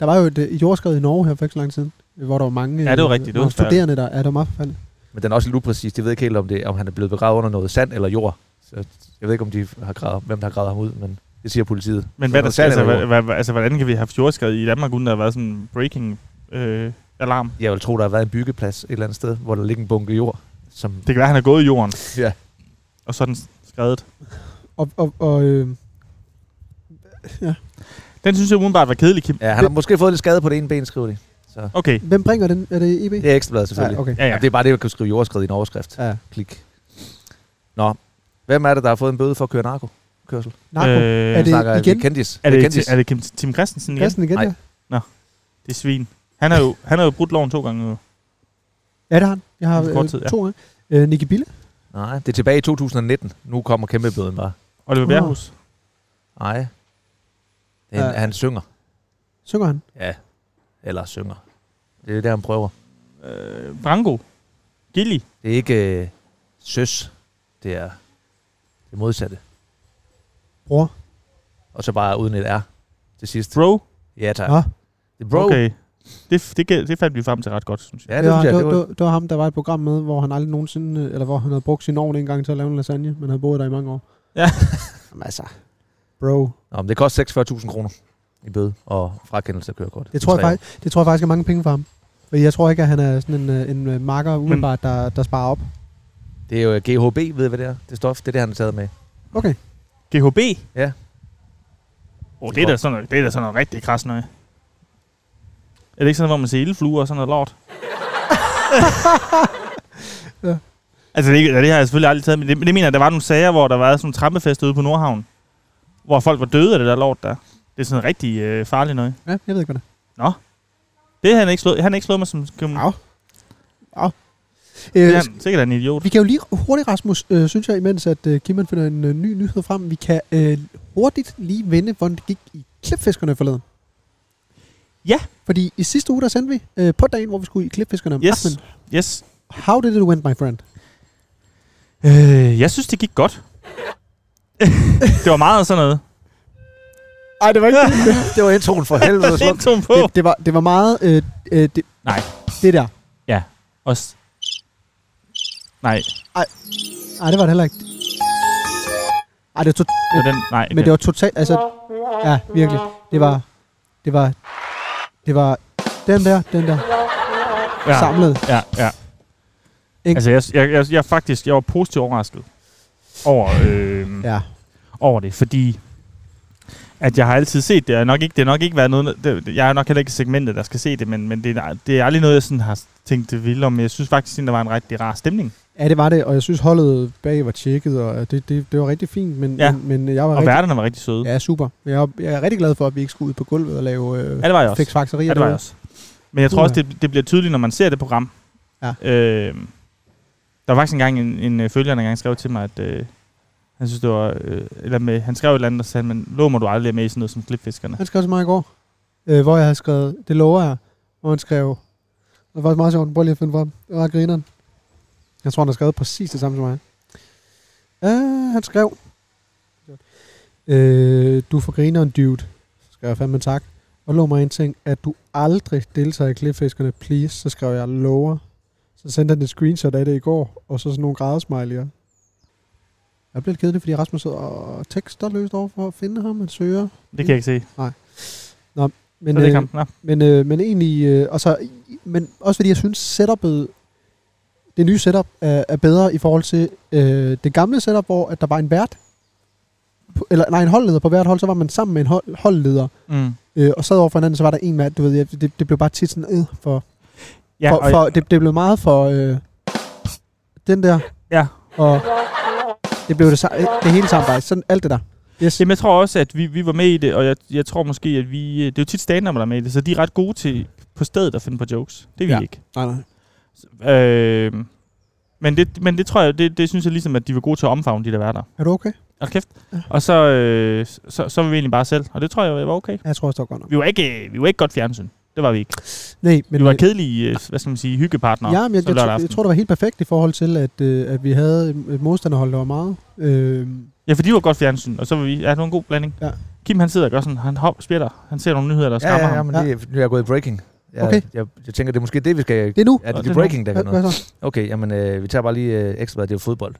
B: Der var jo et, øh, et jordskred i Norge her for ikke så lang tid, hvor der var mange
A: Ja, det var
B: øh,
A: rigtigt. Det var
B: mange
A: forfærdeligt.
B: studerende, der er der var meget forfærdeligt.
C: Men den er også lidt upræcis. De ved ikke helt, om, det, om han er blevet begravet under noget sand eller jord. Så Så jeg ved ikke, om de har gravet, hvem der har gravet ham ud, men det siger politiet.
A: Men hvad der sker, altså, hvad, hvad, hvad, altså, hvordan kan vi have jordskred i Danmark, uden der har været sådan en breaking øh, alarm?
C: Jeg vil tro, der har været en byggeplads et eller andet sted, hvor der ligger en bunke jord, som
A: Det kan være, at han er gået i jorden.
C: Ja.
A: Og så er den skredet.
B: Og, og, og øh,
A: Den synes jeg udenbart var kedelig, Kim.
C: Ja, han har måske fået lidt skade på det ene ben, skriver de. Så
A: Okay.
B: hvem bringer den? Er det EB?
C: det er ekstrabladet selvfølgelig.
B: Ja, okay. Ah,
A: Ja, ja.
C: Jamen, Det er bare det, jeg kan skrive jordskred i en overskrift.
B: Ja.
C: Klik. Nå, hvem er det, der har fået en bøde for at køre narkokørsel?
B: Narko. Øh,
A: Øh,
B: er det
C: Snakker
B: igen?
C: Vi kendis.
A: er, det,
C: kendis.
A: er det Kim, Tim Christensen igen?
B: Christen igen,
C: Nej.
B: ja.
A: Det er svin. Han har jo, han har jo brudt loven to gange. nu.
B: Ja, det har han. Jeg har
A: Det er kort
B: øh,
A: tid, ja.
B: to gange. Øh, Nicky Bille.
C: Nej, det er tilbage i 2019. Nu kommer kæmpe bøden bare.
A: Oliver
B: Nå.
A: Bjerghus.
C: Nej. Det er,
B: Ja.
C: ja. Han synger.
B: Synger han?
C: Ja. Eller synger. Det er det, han prøver.
A: Øh, Branko. Gilly.
C: Det er ikke øh, søs. Det er det modsatte.
B: Bror.
C: Og så bare uden et R til sidst.
A: Bro.
C: Ja, tak.
B: Nå.
C: Det er bro.
A: Okay. Det, det, det, det fandt vi frem til ret godt, synes jeg.
C: Ja, det synes jeg.
B: det,
C: Det
B: var,
C: var,
B: det, var, det var ham, der var et program med, hvor han aldrig nogensinde, øh, eller hvor han havde brugt sin ovn en gang til at lave en lasagne, men havde boet der i mange år.
A: Ja.
B: Jamen altså, bro.
C: Nå, men det koster 46.000 kroner i bøde og frakendelse af kørekort.
B: Det tror, jeg
C: Tre år.
B: faktisk, det tror jeg faktisk er mange penge for ham. Fordi jeg tror ikke, at han er sådan en, øh, en øh, marker umiddelbart, der, der sparer op.
C: Det er jo øh, GHB, ved I, hvad det er? Det stof, det er det, han er taget med.
B: Okay.
A: GHB?
C: Ja.
A: Oh, det, er da sådan noget, det er da sådan noget rigtig kras noget. Er det ikke sådan, hvor man ser ildfluer og sådan noget lort?
B: Ja.
A: Altså, det, er ikke- ja, det har jeg selvfølgelig aldrig taget, men det, men det mener jeg, der var nogle sager, hvor der var sådan en trampefest ude på Nordhavn, hvor folk var døde af det der lort der. Det er sådan rigtig øh, farligt noget.
B: Ja, jeg ved ikke, hvad det
A: Det har han ikke slået, han har ikke slået mig som... Kom,
B: Au.
A: det
B: er.
A: er
B: Øh,
A: han, sikkert er han en idiot.
B: Vi kan jo lige hurtigt, Rasmus, øh, synes jeg, imens at øh, Kim han finder en øh, ny nyhed frem, vi kan øh, hurtigt lige vende, hvordan det gik i klipfiskerne forleden.
A: Ja.
B: Fordi i sidste uge, der sendte vi øh, på dagen, hvor vi skulle i klipfiskerne om
A: Yes.
B: aftenen.
A: Yes.
B: How did it went, my friend?
A: Øh, jeg synes, det gik godt. det var meget sådan noget.
B: Ej, det var ikke det.
C: Det var introen for helvede.
A: Lidt tom på.
B: det, det, var, det var meget... Øh, øh, det,
A: Nej.
B: Det der.
A: Og s- Nej,
B: Nej, det var det heller ikke. Ej, det var to-
A: det var den, nej.
B: men det var totalt... Altså, ja, virkelig. Det var... Det var... Det var den der, den der, ja.
A: ja,
B: samlet.
A: ja, ja.
B: Ikke?
A: Altså, jeg, jeg, jeg, jeg, faktisk, jeg var positivt overrasket over, øh, ja.
B: Ja.
A: over det, fordi at jeg har altid set det, og nok ikke, det har nok ikke været noget, det, jeg er nok heller ikke i segmentet, der skal se det, men, men det, er- det er aldrig noget, jeg sådan har tænkt det vildt om, men jeg synes faktisk, at der var en rigtig rar stemning.
B: Ja, det var det, og jeg synes holdet bag var tjekket, og det, det, det var rigtig fint, men,
A: Ja.
B: men, men jeg var
A: Og
B: rigtig,
A: værterne var rigtig søde. Ja,
B: ja, super. Jeg, er- jeg er rigtig glad for, at vi ikke skulle ud på gulvet og lave øh,
A: det var jeg også.
B: fiksfakserier.
A: Ja, det var jeg
B: derude.
A: også. Men jeg tror
B: Uha.
A: også, det, det bliver tydeligt, når man ser det program.
B: Ja.
A: Øh, der var faktisk engang en, en øh, følger, der engang skrev til mig, at øh, han synes, det var... Øh, eller med, han skrev et eller andet, og sagde, men lå må du aldrig er med i sådan noget som klipfiskerne.
B: Han skrev til mig i går, øh, hvor jeg havde skrevet, det lover jeg, hvor han skrev, det var meget sjovt, prøv lige at finde frem, det var grineren. Jeg tror, han har skrevet præcis det samme som mig. Øh, han skrev, øh, du får grineren, dude. Så skrev jeg fandme tak. Og lov mig en ting, at du aldrig deltager i klipfiskerne, please. Så skrev jeg, lover. Så sendte han et screenshot af det i går, og så sådan nogle grædesmiley'er. Jeg blev lidt kedelig, fordi Rasmus sidder og tekster løst over for at finde ham. Han søger.
A: Det kan jeg ikke se.
B: Men,
A: så det
B: øh,
A: kan øh, Nå,
B: men, øh, men egentlig, øh, og så, men også fordi jeg synes, setupet, det nye setup er, er bedre i forhold til øh, det gamle setup, hvor at der var en vært, på- eller nej, en holdleder på hvert hold, så var man sammen med en hold, holdleder,
A: mm.
B: øh, og sad over for hinanden, så var der en vært, du ved, ja, det, det blev bare tit sådan, øh, for,
A: Ja,
B: for,
A: og,
B: for det, det blev meget for øh, den der,
A: Ja.
B: og det blev det, sa- det hele sammen bare, sådan alt det der. Yes.
A: Jamen, jeg tror også, at vi, vi var med i det, og jeg, jeg tror måske, at vi... øh, Det er jo tit stand der er med i det, så de er ret gode til på stedet at finde på jokes. Det er vi
B: Ja.
A: ja. ikke.
B: Nej, nej.
A: Øh, men, det, men det tror jeg, det, det synes jeg ligesom, at de var gode til at omfavne de der værter.
B: Er du okay?
A: Og kæft.
B: Ja.
A: Og så, øh, så, så var vi egentlig bare selv. Og det tror jeg var okay.
B: Ja, Jeg tror, jeg står godt nok.
A: Vi var ikke, øh, vi var ikke godt fjernsyn. Det var vi ikke.
B: Nej, men,
A: Men vi var kedelige, øh, hvad skal man sige, hyggepartnere.
B: Ja, men jeg,
A: så
B: jeg,
A: lørdag
B: jeg, jeg
A: aften.
B: tror, det var helt perfekt i forhold til, at, øh, at vi havde et- et modstanderhold, der var meget. Øh,
A: ja, for de var godt fjernsyn, og så var vi, ja, det var en god blanding.
B: Ja.
A: Kim han sidder og gør sådan, han hop, spjætter, han ser nogle nyheder, der
C: Ja,
A: skræmmer
C: ja, ja,
A: ham.
C: men det, nu er jeg gået i breaking. Jeg,
B: Okay.
C: jeg, jeg, tænker, det er måske det, vi skal...
B: det er nu.
C: Er
A: Og det
C: det, det
A: er nu.
C: breaking, der
B: Hvad,
C: kan
B: hvad
C: noget?
B: så?
C: Okay, jamen, øh, vi tager bare lige øh, ekstra, det er jo fodbold.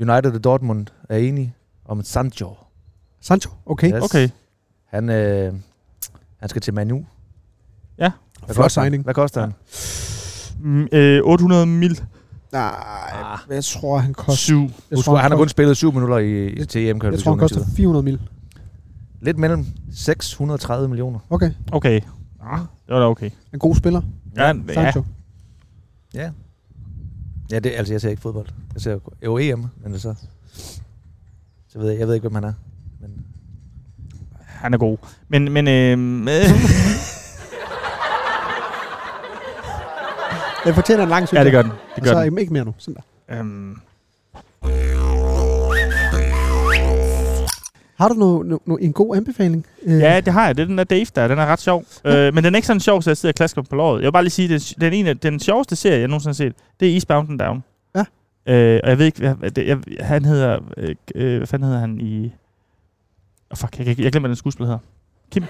C: United og Dortmund er enige om Sancho.
B: Sancho, okay.
C: Yes.
A: Okay.
C: Han, øh, han skal til Manu.
A: Ja.
C: Hvad
B: Flot
C: koster han?
B: signing.
C: Hvad koster han?
A: Mm, øh, 800 mil.
B: Nej,
C: Ah.
B: men jeg tror, han koster...
A: 7.
B: Jeg
C: Husk,
B: tror,
C: han har kun
B: koster,
C: spillet 7 minutter i, i
B: Jeg-
C: til em
B: jeg tror, han koster 400 mil.
C: Lidt mellem 630 millioner.
B: Okay.
A: Okay. Ah, det var da okay.
B: En god spiller,
A: Ja, ja.
B: Sancho.
C: Ja, det, altså jeg ser ikke fodbold. Jeg ser jo EM, men så... Så ved jeg, jeg ved ikke, hvem han er. Men
A: han er god. Men, men øhm, øh,
B: Den fortjener en lang
A: ja, det gør den. Det gør
B: så
A: den.
B: jamen, ikke mere nu. Sådan der.
A: Øhm,
B: Har du no, no, no, en god anbefaling? Øh,
A: ja, det har jeg. Det er den der Dave der. Den er ret sjov. Øh, men den er ikke sådan sjov, så jeg sidder og klasker på låret. Jeg vil bare lige sige, det den, ene, af- den sjoveste serie, jeg nogensinde har set, det er Eastbound and Down.
B: Ja.
A: Øh, og jeg ved ikke, hvad, hvad det, jeg, han hedder, øh, øh, hvad fanden hedder han i... Oh, fuck, jeg, kan ikke- jeg glemmer, hvad den skuespiller hedder.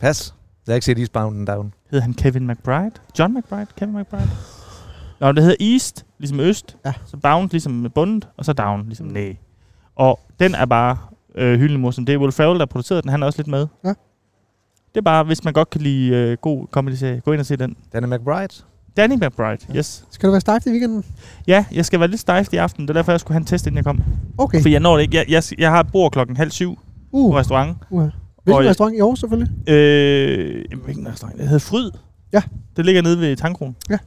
C: pas. Jeg har ikke set Eastbound and Down.
A: Hedder han Kevin McBride? John McBride? Kevin McBride? Nå, det hedder East, ligesom Øst.
B: Ja.
A: Så Bound, ligesom bundet, og så Down, ligesom næ. Og den er bare øh, hyldende morsom. Det er Will Ferrell, der producerede den. Han er også lidt med.
B: Ja.
A: Det er bare, hvis man godt kan lide øh, god comedy gå ind og se den.
C: Danny McBride.
A: Danny McBride, ja. yes.
B: Skal du være stejft i weekenden?
A: Ja, jeg skal være lidt stejft i aften. Det er derfor, jeg skulle have en test, inden jeg kom. Okay.
B: Okay.
A: For jeg når det ikke. Jeg, jeg, jeg har bord klokken halv syv
B: Uh,
A: på restaurant.
B: uh. Hvilken
A: Og-
B: restaurant i år selvfølgelig?
A: Øh, jamen, hvilken restaurant? Det hedder Fryd.
B: Ja.
A: Det ligger nede ved Tankronen.
B: Ja.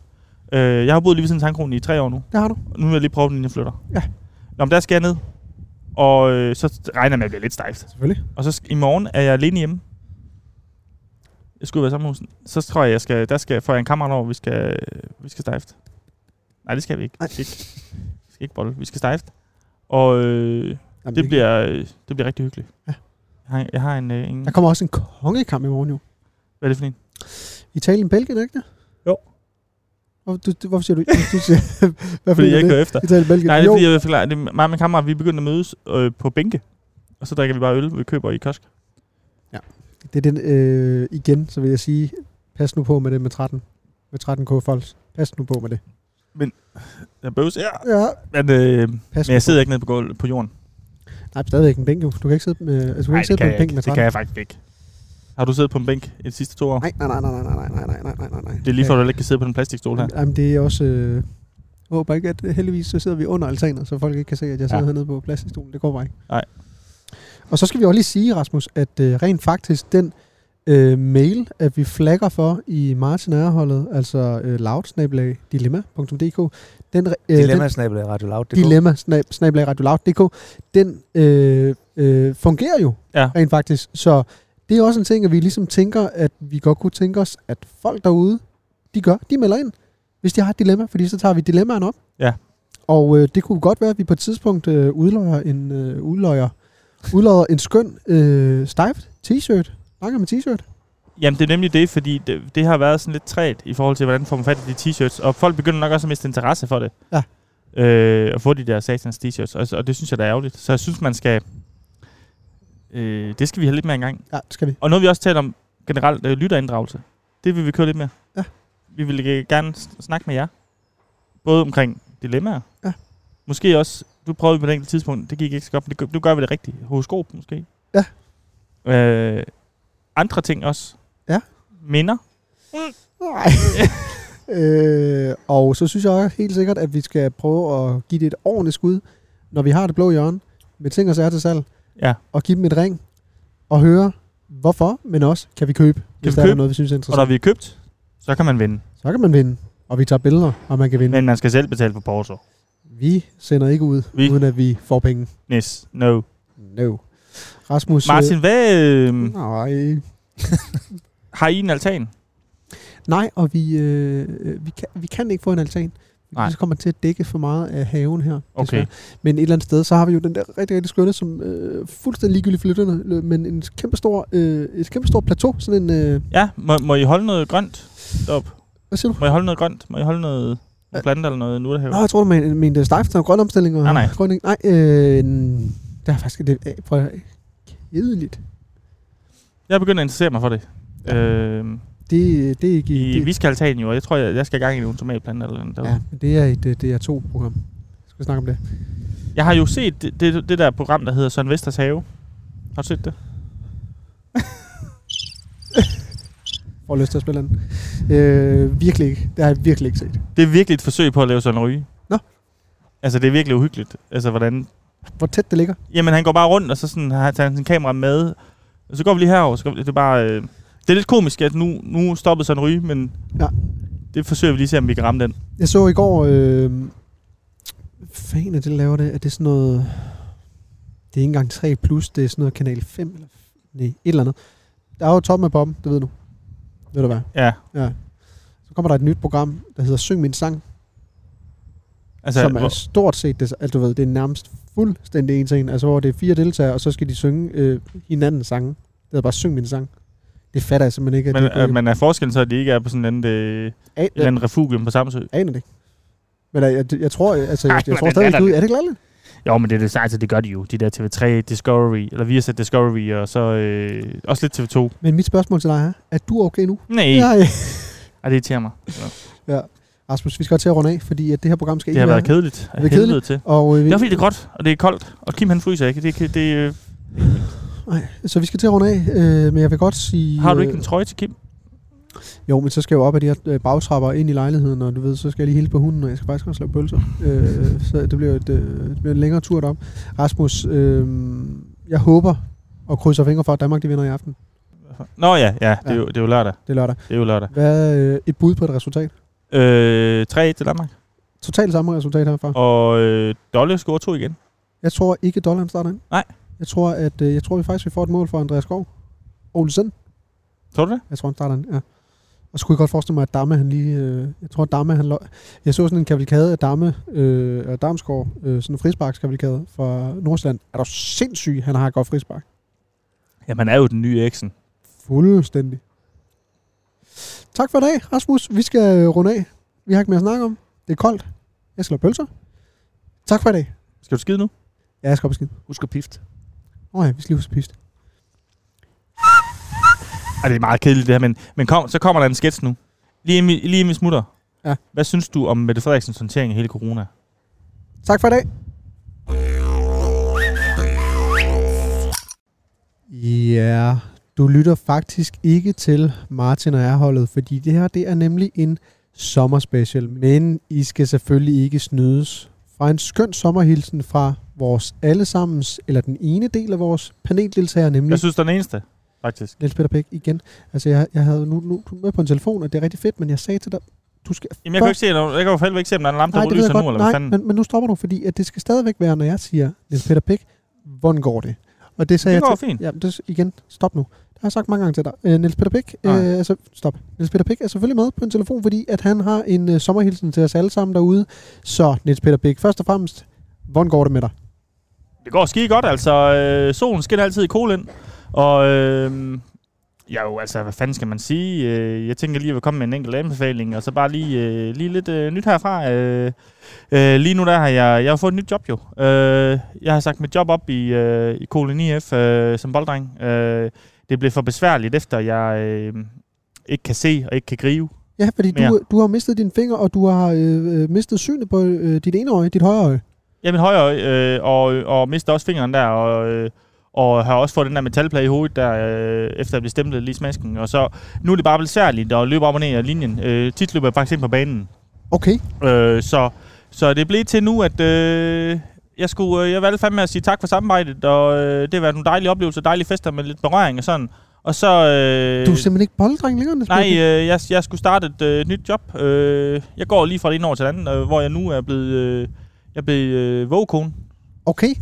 A: Øh, jeg har boet lige ved siden af Tankronen i tre år nu.
B: Det har du.
A: Nu vil jeg lige prøve den, inden jeg flytter.
B: Ja.
A: Nå, men der skal jeg ned. Og øh, så regner jeg med, at jeg bliver lidt stejft.
B: Selvfølgelig.
A: Og så sk- i morgen er jeg alene hjemme. Jeg skulle være sammen hos Så tror jeg, jeg skal, der skal, får jeg en kammerat over, vi skal, vi skal stejft. Nej, det skal vi ikke.
B: Nej.
A: Vi skal ikke, vi skal ikke bolle. Vi skal stejft. Og øh,
B: Jamen,
A: det, bliver, øh, det bliver rigtig hyggeligt.
B: Ja.
A: Jeg har, jeg har en, øh, en...
B: Der kommer også en kongekamp i morgen jo.
A: Hvad er det for en?
B: Italien-Belgien, ikke det?
A: Jo.
B: Hvorfor, du, du, hvorfor siger du ikke? Du siger, hvad
A: Fordi jeg ikke
B: det?
A: hører efter.
B: Italien-Belgien.
A: Nej, det er
B: jo,
A: fordi, jeg vil forklare. Det er mig og min kammerat, vi er begyndt at mødes øh, på bænke. Og så drikker vi bare øl, vi køber i kiosk.
B: det er den, øh, igen, så vil jeg sige, pas nu på med det med 13. Med 13k folks. Pas nu på med det.
A: Jeg bøvs, ja.
B: Ja,
A: Men, øh,
B: pas
A: men jeg sidder ikke nede på, gulvet, på jorden.
B: Nej, stadigvæk en bænk jo. Du kan ikke sidde, med, altså, du kan
A: Nej,
B: ikke sidde på en bænk med
A: det
B: 13.
A: kan jeg faktisk ikke. Har du siddet på en bænk i de sidste to år?
B: Nej, nej, nej, nej, nej, nej, nej, nej, nej, nej, nej, nej.
A: Det er lige før, du heller ikke kan sidde på den plastikstol her.
B: Jamen, Jamen, det er også... Øh, jeg håber ikke, at heldigvis så sidder vi under altanet, så folk ikke kan se, at jeg sidder
A: Ja.
B: ja. hernede på plastikstolen. Det går bare ikke.
A: Nej.
B: Og så skal vi også lige sige, Rasmus, at øh, rent faktisk den øh, mail, at vi flagger for i Martin Ærholdet, altså øh, loudsnabelag.dilemma.dk, den, øh, den
C: Dilemma snabel Radio Loud.
B: dilemma snab, snablag, radioloud.dk, den øh, øh, fungerer jo
A: Ja.
B: ja. rent faktisk. Så det er også en ting, at vi ligesom tænker, at vi godt kunne tænke os, at folk derude, de gør, de melder ind, hvis de har et dilemma, fordi så tager vi dilemmaen op.
A: Ja.
B: Og øh, det kunne godt være, at vi på et tidspunkt øh, udløjer en, øh, udløjer, udløjer en skøn øh, stejft t-shirt. Snakker med t-shirt.
A: Jamen, det er nemlig det, fordi det, det har været sådan lidt træt i forhold til, hvordan får man fat i de t-shirts. Og folk begynder nok også at miste interesse for det.
B: Ja.
A: Øh, at få de der satans t-shirts. Og, og det synes jeg, der er ærgerligt. Så jeg synes, man skal... Øh, det skal vi have lidt mere engang.
B: Ja, det skal vi.
A: Og noget vi også taler om generelt, øh, lytterinddragelse. Det vil vi køre lidt mere.
B: Ja.
A: Vi vil øh, gerne s- snakke med jer. Både omkring dilemmaer.
B: Ja.
A: Måske også, du prøvede på et enkelt tidspunkt, det gik ikke så godt, men det gør- nu gør vi det rigtigt. Horoskop måske.
B: Ja.
A: Øh, andre ting også.
B: Ja.
A: Minder.
B: Nej. øh, og så synes jeg også helt sikkert, at vi skal prøve at give det et ordentligt skud, når vi har det blå hjørne, med ting og sager til salg,
A: Ja.
B: og give dem et ring, og høre, hvorfor, men også, kan vi købe, kan hvis
A: vi
B: vi der købe?
A: købe?
B: er noget, vi synes er
A: Og når
B: interessant.
A: vi er købt, så kan man vinde.
B: Så kan man vinde, og vi tager billeder, og man kan vinde. Men.
A: Men man skal selv betale for porto.
B: Vi sender ikke ud,
A: Vi-
B: vi. uden at vi får penge.
A: Yes. No.
B: No. Rasmus... øh,
A: Martin, hvad, øh,
B: Nej.
A: har I en altan?
B: Nej, og vi, øh, øh, vi, kan, vi kan ikke få en altan.
A: Nej.
B: Nej. Så kommer man til at dække for meget af haven her.
A: Okay.
B: desværre. Men et eller andet sted, så har vi jo den der rigtig, rigtig skønne, som øh, fuldstændig ligegyldigt for lytterne, øh, men en kæmpe stor, øh, et kæmpe stort plateau. Sådan en, øh,
A: Ja, må, må I holde noget grønt op?
B: hvad siger du?
A: Må jeg holde noget grønt? Må jeg holde noget nogle planter eller noget nurtehave?
B: Nå, jeg tror, du mente, mente stejft og grøn omstilling. Og
A: Nej, nej.
B: Grøn, nej, øh, n- det er faktisk det, øh, prøv at høre, kedeligt.
A: Jeg begynder at interessere mig for det. Ja. Øh,
B: Det, det er ikke...
A: i,
B: det,
A: vi skal altan jo, og jeg tror, jeg, jeg skal i gang i nogle tomatplanter eller noget.
B: ja, men det er et øh, DR2-program. Skal vi snakke om det?
A: Jeg har jo set det, det, det der program, der hedder Søren Vesters Have. Har du set det?
B: Får lyst til at spille den. Øh, virkelig ikke. Det har jeg virkelig ikke set.
A: Det er virkelig et forsøg på at lave Søren Ryge.
B: Nå.
A: Altså, det er virkelig uhyggeligt. Altså, hvordan...
B: Hvor tæt det ligger.
A: Jamen, han går bare rundt, og så sådan, har han tager han sin kamera med. Og så går vi lige herover. Så går vi, det er bare... Øh, det er lidt komisk, at nu, nu stoppede Søren Ryge, men...
B: Ja.
A: Det forsøger vi lige at se, om vi kan ramme den.
B: Jeg så i går... Øh, fan er det, der laver det? Er det sådan noget... Det er ikke engang 3+, plus, det er sådan noget kanal 5, eller nej, et eller andet. Der er jo toppen af poppen, det ved du. Ved du hvad?
A: Ja.
B: Ja. Så kommer der et nyt program, der hedder Syng min sang,
A: Altså,
B: som er
A: hvor,
B: stort set, det, altså du ved, det er nærmest fuldstændig en ting, altså hvor det er fire deltagere, og så skal de synge øh, hinandens sange. Det hedder bare Syng min sang. Det fatter jeg simpelthen ikke. at
A: men,
B: det er
A: øh, men er forskellen så, at de ikke er på sådan en øh,
B: An-
A: eller anden refugium på Samsø?
B: øh, aner det ikke. Men øh, jeg, jeg tror, altså,
A: Ej,
B: jeg, jeg
A: hvor
B: tror
A: er det
B: stadig ikke ud.
A: latterligt.
B: Er det ikke latterligt?
A: Jo, men det er det, altså, det gør de jo. De der TV3, Discovery, eller vi har set Discovery, og så øh, også lidt TV2.
B: Men mit spørgsmål til dig er, er du okay nu?
A: Nej, ja.
B: Nej.
A: Ej, det irriterer mig. Ja.
B: Rasmus, vi skal godt til at runde af, fordi at det her program skal
A: Det har
B: ikke
A: været kedeligt. af
B: Det er
A: helvede
B: kedeligt.
A: til.
B: Og, øh,
A: Det
B: vi,
A: er fordi, det er godt, og det er koldt, og Kim han fryser ikke. Det, kan- det, øh,
B: nej, så vi skal til at runde af, øh, men jeg vil godt sige...
A: har du ikke
B: øh,
A: en trøje til Kim?
B: Jo, men så skal jeg jo op ad de her øh, bagtrapper og ind i lejligheden, og du ved, så skal jeg lige hilse på hunden, og jeg skal faktisk også lave pølser. Øh, så det bliver, et, øh, det bliver en længere tur derop. Rasmus, øh, jeg håber og krydser fingre for, at Danmark de vinder i aften.
A: Nå ja, ja, det er
B: Ja.
A: jo, det er jo lørdag.
B: Det er lørdag.
A: Det er jo lørdag.
B: Hvad er øh, et bud på et resultat?
A: Øh, 3 til Danmark.
B: Totalt samme resultat herfra.
A: Og øh, Dolle scorer to igen.
B: Jeg tror ikke, dollaren starter ind.
A: Nej.
B: Jeg tror, at, øh, jeg tror vi faktisk, vi får et mål for Andreas Skov. Olsen.
A: Tror du det?
B: Jeg tror, han starter ind, ja. Og så kunne jeg godt forestille mig, at Damme, han lige... Øh, jeg tror, at Damme, han... Løg. Jeg så sådan en kavalkade af Damme øh, og Damsgaard, øh, sådan en frisparkskavalkade fra Nordsjælland. Er du sindssyg, han har et godt frispark?
A: Jamen, han er jo den nye Eriksen.
B: Fuldstændig. Tak for i dag, Rasmus. Vi skal øh, runde af. Vi har ikke mere at snakke om. Det er koldt. Jeg skal lave pølser. Tak for i dag.
A: Skal du skide nu?
B: Ja, jeg skal op og skide.
C: Husk at pifte.
B: Åh oh, ja, vi skal lige huske at piste.
A: Ej, det er meget kedeligt det her, men, men kom, så kommer der en sketch nu. Lige inden, vi, lige inden vi smutter.
B: Ja.
A: Hvad synes du om Mette Frederiksens håndtering af hele corona?
B: Tak for i dag. Ja, du lytter faktisk ikke til Martin og jeg-holdet, fordi det her det er nemlig en sommerspecial. Men I skal selvfølgelig ikke snydes fra en skøn sommerhilsen fra vores allesammens, eller den ene del af vores paneldeltagere, nemlig
A: Jeg synes, der er den eneste, faktisk.
B: Niels Peter Bæk igen. Altså, jeg, jeg havde nu, nu du er med på en telefon, og det er rigtig fedt, men jeg sagde til dig, du skal
A: Jamen, jeg kan jo ikke se, noget. jeg kan jo for helvede ikke se, om der er en lampe,
B: Nej,
A: der
B: det ved jeg
A: lyser nu,
B: godt.
A: eller hvad
B: Nej,
A: fanden.
B: men, men nu stopper du, fordi at det skal stadigvæk være, når jeg siger, Niels Peter Pick, hvordan går det? Og det sagde
A: Det går
B: jeg
A: fint.
B: til, ja, det, igen, stop nu. Det har jeg sagt mange gange til dig. Øh, Niels Peter Pick,
A: Nej.
B: øh, altså, stop. Niels Peter Pick er selvfølgelig med på en telefon, fordi at han har en øh, sommerhilsen til os alle sammen derude. Så Niels Peter Pick, først og fremmest, hvordan går det med dig?
A: Det går skide godt, altså. Øh, solen skinner altid i kolen. Og øh, ja, jo, altså, hvad fanden skal man sige? Øh, jeg tænker lige, at jeg vil komme med en enkelt anbefaling, og så bare lige, øh, lige lidt øh, nyt herfra. Øh, øh, lige nu der har jeg, jeg har fået et nyt job jo. Øh, jeg har sagt mit job op i, øh, i Kolen IF øh, som bolddreng. Øh, det blev for besværligt, efter jeg øh, ikke kan se og ikke kan gribe.
B: Ja, fordi du, øh,
A: Mere.
B: du har mistet dine fingre, og du har øh, øh, mistet synet på øh, dit ene øje, dit højre øje.
A: Ja, min højre øje, øh, og, og mister også fingeren der, og, øh, og har også fået den der metalplade i hovedet der, øh, efter at blive stemplet lige i smasken. Og så, nu er det bare besværligt at løbe op og ned af linjen. Øh, tit løber jeg faktisk ind på banen.
B: Okay,
A: Øh, så, så det blev til nu, at øh, jeg, skulle, øh, jeg valgte fandme at sige tak for samarbejdet, og øh, det har været nogle dejlige oplevelser, dejlige fester med lidt berøring og sådan. Og så... Øh,
B: du er simpelthen ikke bolddreng længere, Niels Peter
A: Nej,
B: Pick.
A: øh, jeg, jeg skulle starte et øh, nyt job. Øh, jeg går lige fra det ene år til det andet, øh, hvor jeg nu er blevet, øh, jeg blev øh, vågekone.
B: Okay.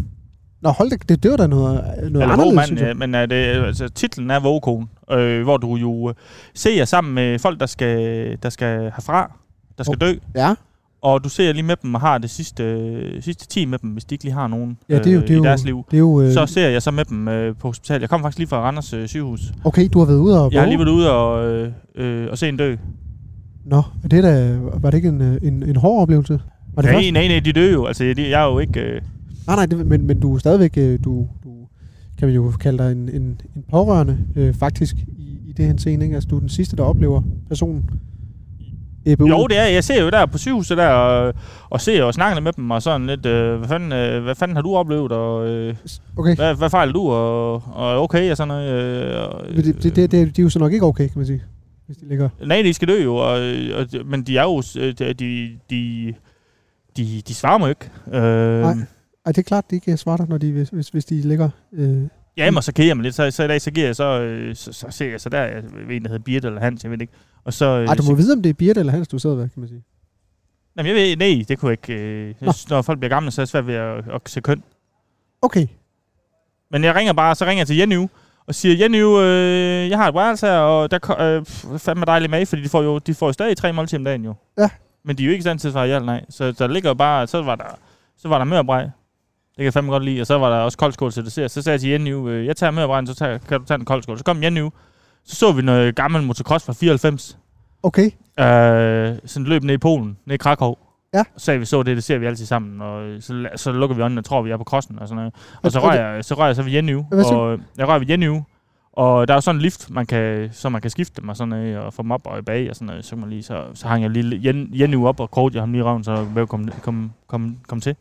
B: Nå, hold da, det, det var da noget, noget
A: Eller
B: anderledes,
A: vågmand,
B: synes jeg.
A: øh, men er det, altså, titlen er Vågekone, øh, hvor du jo øh, ser sammen med folk, der skal, der skal herfra, der
B: Oh.
A: skal dø,
B: Ja.
A: og du ser lige med dem og har det sidste, øh, sidste 10 med dem, hvis de ikke lige har nogen
B: Ja, det er jo,
A: øh,
B: det er
A: i
B: jo,
A: deres liv.
B: Det er jo, øh,
A: Så ser jeg så med dem øh, på hospitalet. Jeg kommer faktisk lige fra Randers øh, sygehus.
B: okay, du har været ude og
A: Jeg har
B: våge.
A: lige været ude og, øh, øh, og se en dø.
B: Nå, er det da, var det ikke en, øh, en, en hård oplevelse? Var det
A: Nej,
B: først?
A: nej, nej, de døde jo. Altså, de, jeg er jo ikke... Øh,
B: Nej, nej, det, men, men du er stadigvæk, øh, du, du kan man jo kalde dig en, en, en pårørende, øh, faktisk, i, i det her scene, ikke? Altså, du er den sidste, der oplever personen. EBU?
A: Jo, det er. Jeg ser jo der på sygehuset der, og, og ser og snakker med dem, og sådan lidt, øh, hvad, fanden, øh, hvad fanden har du oplevet, og øh,
B: Okay.
A: hvad, hvad fejler du, og, og okay, og sådan noget. Øh, og,
B: Men det, det, det, det, de er jo så nok ikke okay, kan man sige. Hvis de ligger.
A: Nej, de skal dø jo, og, og, men de er jo, øh, de, de, de, de, de svarer mig jo ikke. Øh,
B: Nej. Ej, det er klart, de ikke øh, svarer dig, når de, hvis, hvis, hvis de ligger... Øh,
A: Ja, men så keder jeg mig lidt. Så, så i dag, så giver jeg så, øh, så, så ser jeg så der, jeg ved en, der hedder Birte eller Hans, jeg ved det ikke. Og så, øh,
B: ej, du
A: så,
B: må vide, om det er Birte eller Hans, du sidder ved, kan man sige.
A: jamen, jeg ved, nej, det kunne jeg ikke. Øh,
B: Nå.
A: når folk bliver gamle, så er det svært ved at, at se køn.
B: Okay.
A: Men jeg ringer bare, så ringer jeg til Jenny og siger, Jenny, øh, jeg har et værelse her, og der ko- øh, pff, fandme dejlig mad, fordi de får jo, de får jo stadig tre måltider om dagen jo.
B: Ja.
A: Men de er jo ikke i stand til at svare ja eller nej. Så der ligger jo bare, så var der, så var der mørbrej. Det kan jeg fandme godt lide. Og så var der også koldskål til dessert. Så sagde jeg til Jenny, øh, jeg tager mørbrejen, så tager, kan du tage en koldskål. Så kom Jenny, så så vi noget gammel motocross fra 94.
B: Okay.
A: Øh, sådan løb ned i Polen, ned i Krakow.
B: Ja.
A: Så sagde vi så det, det ser vi altid sammen, og øh, så, la- så lukker vi øjnene og tror, vi er på krossen og sådan noget. Og så
B: Og- og
A: rører jeg så, rører jeg så ved Jenny,
B: Hvad så?
A: og øh, jeg rører ved Jenny, og der er jo sådan en lift, man kan, så man kan skifte dem og sådan noget, og få dem op og bag og sådan noget. Så, kan man lige, så, så hang jeg lige Jen- Jenny op og kort jeg ham lige i røven, så jeg kom, kom, kom, kom til.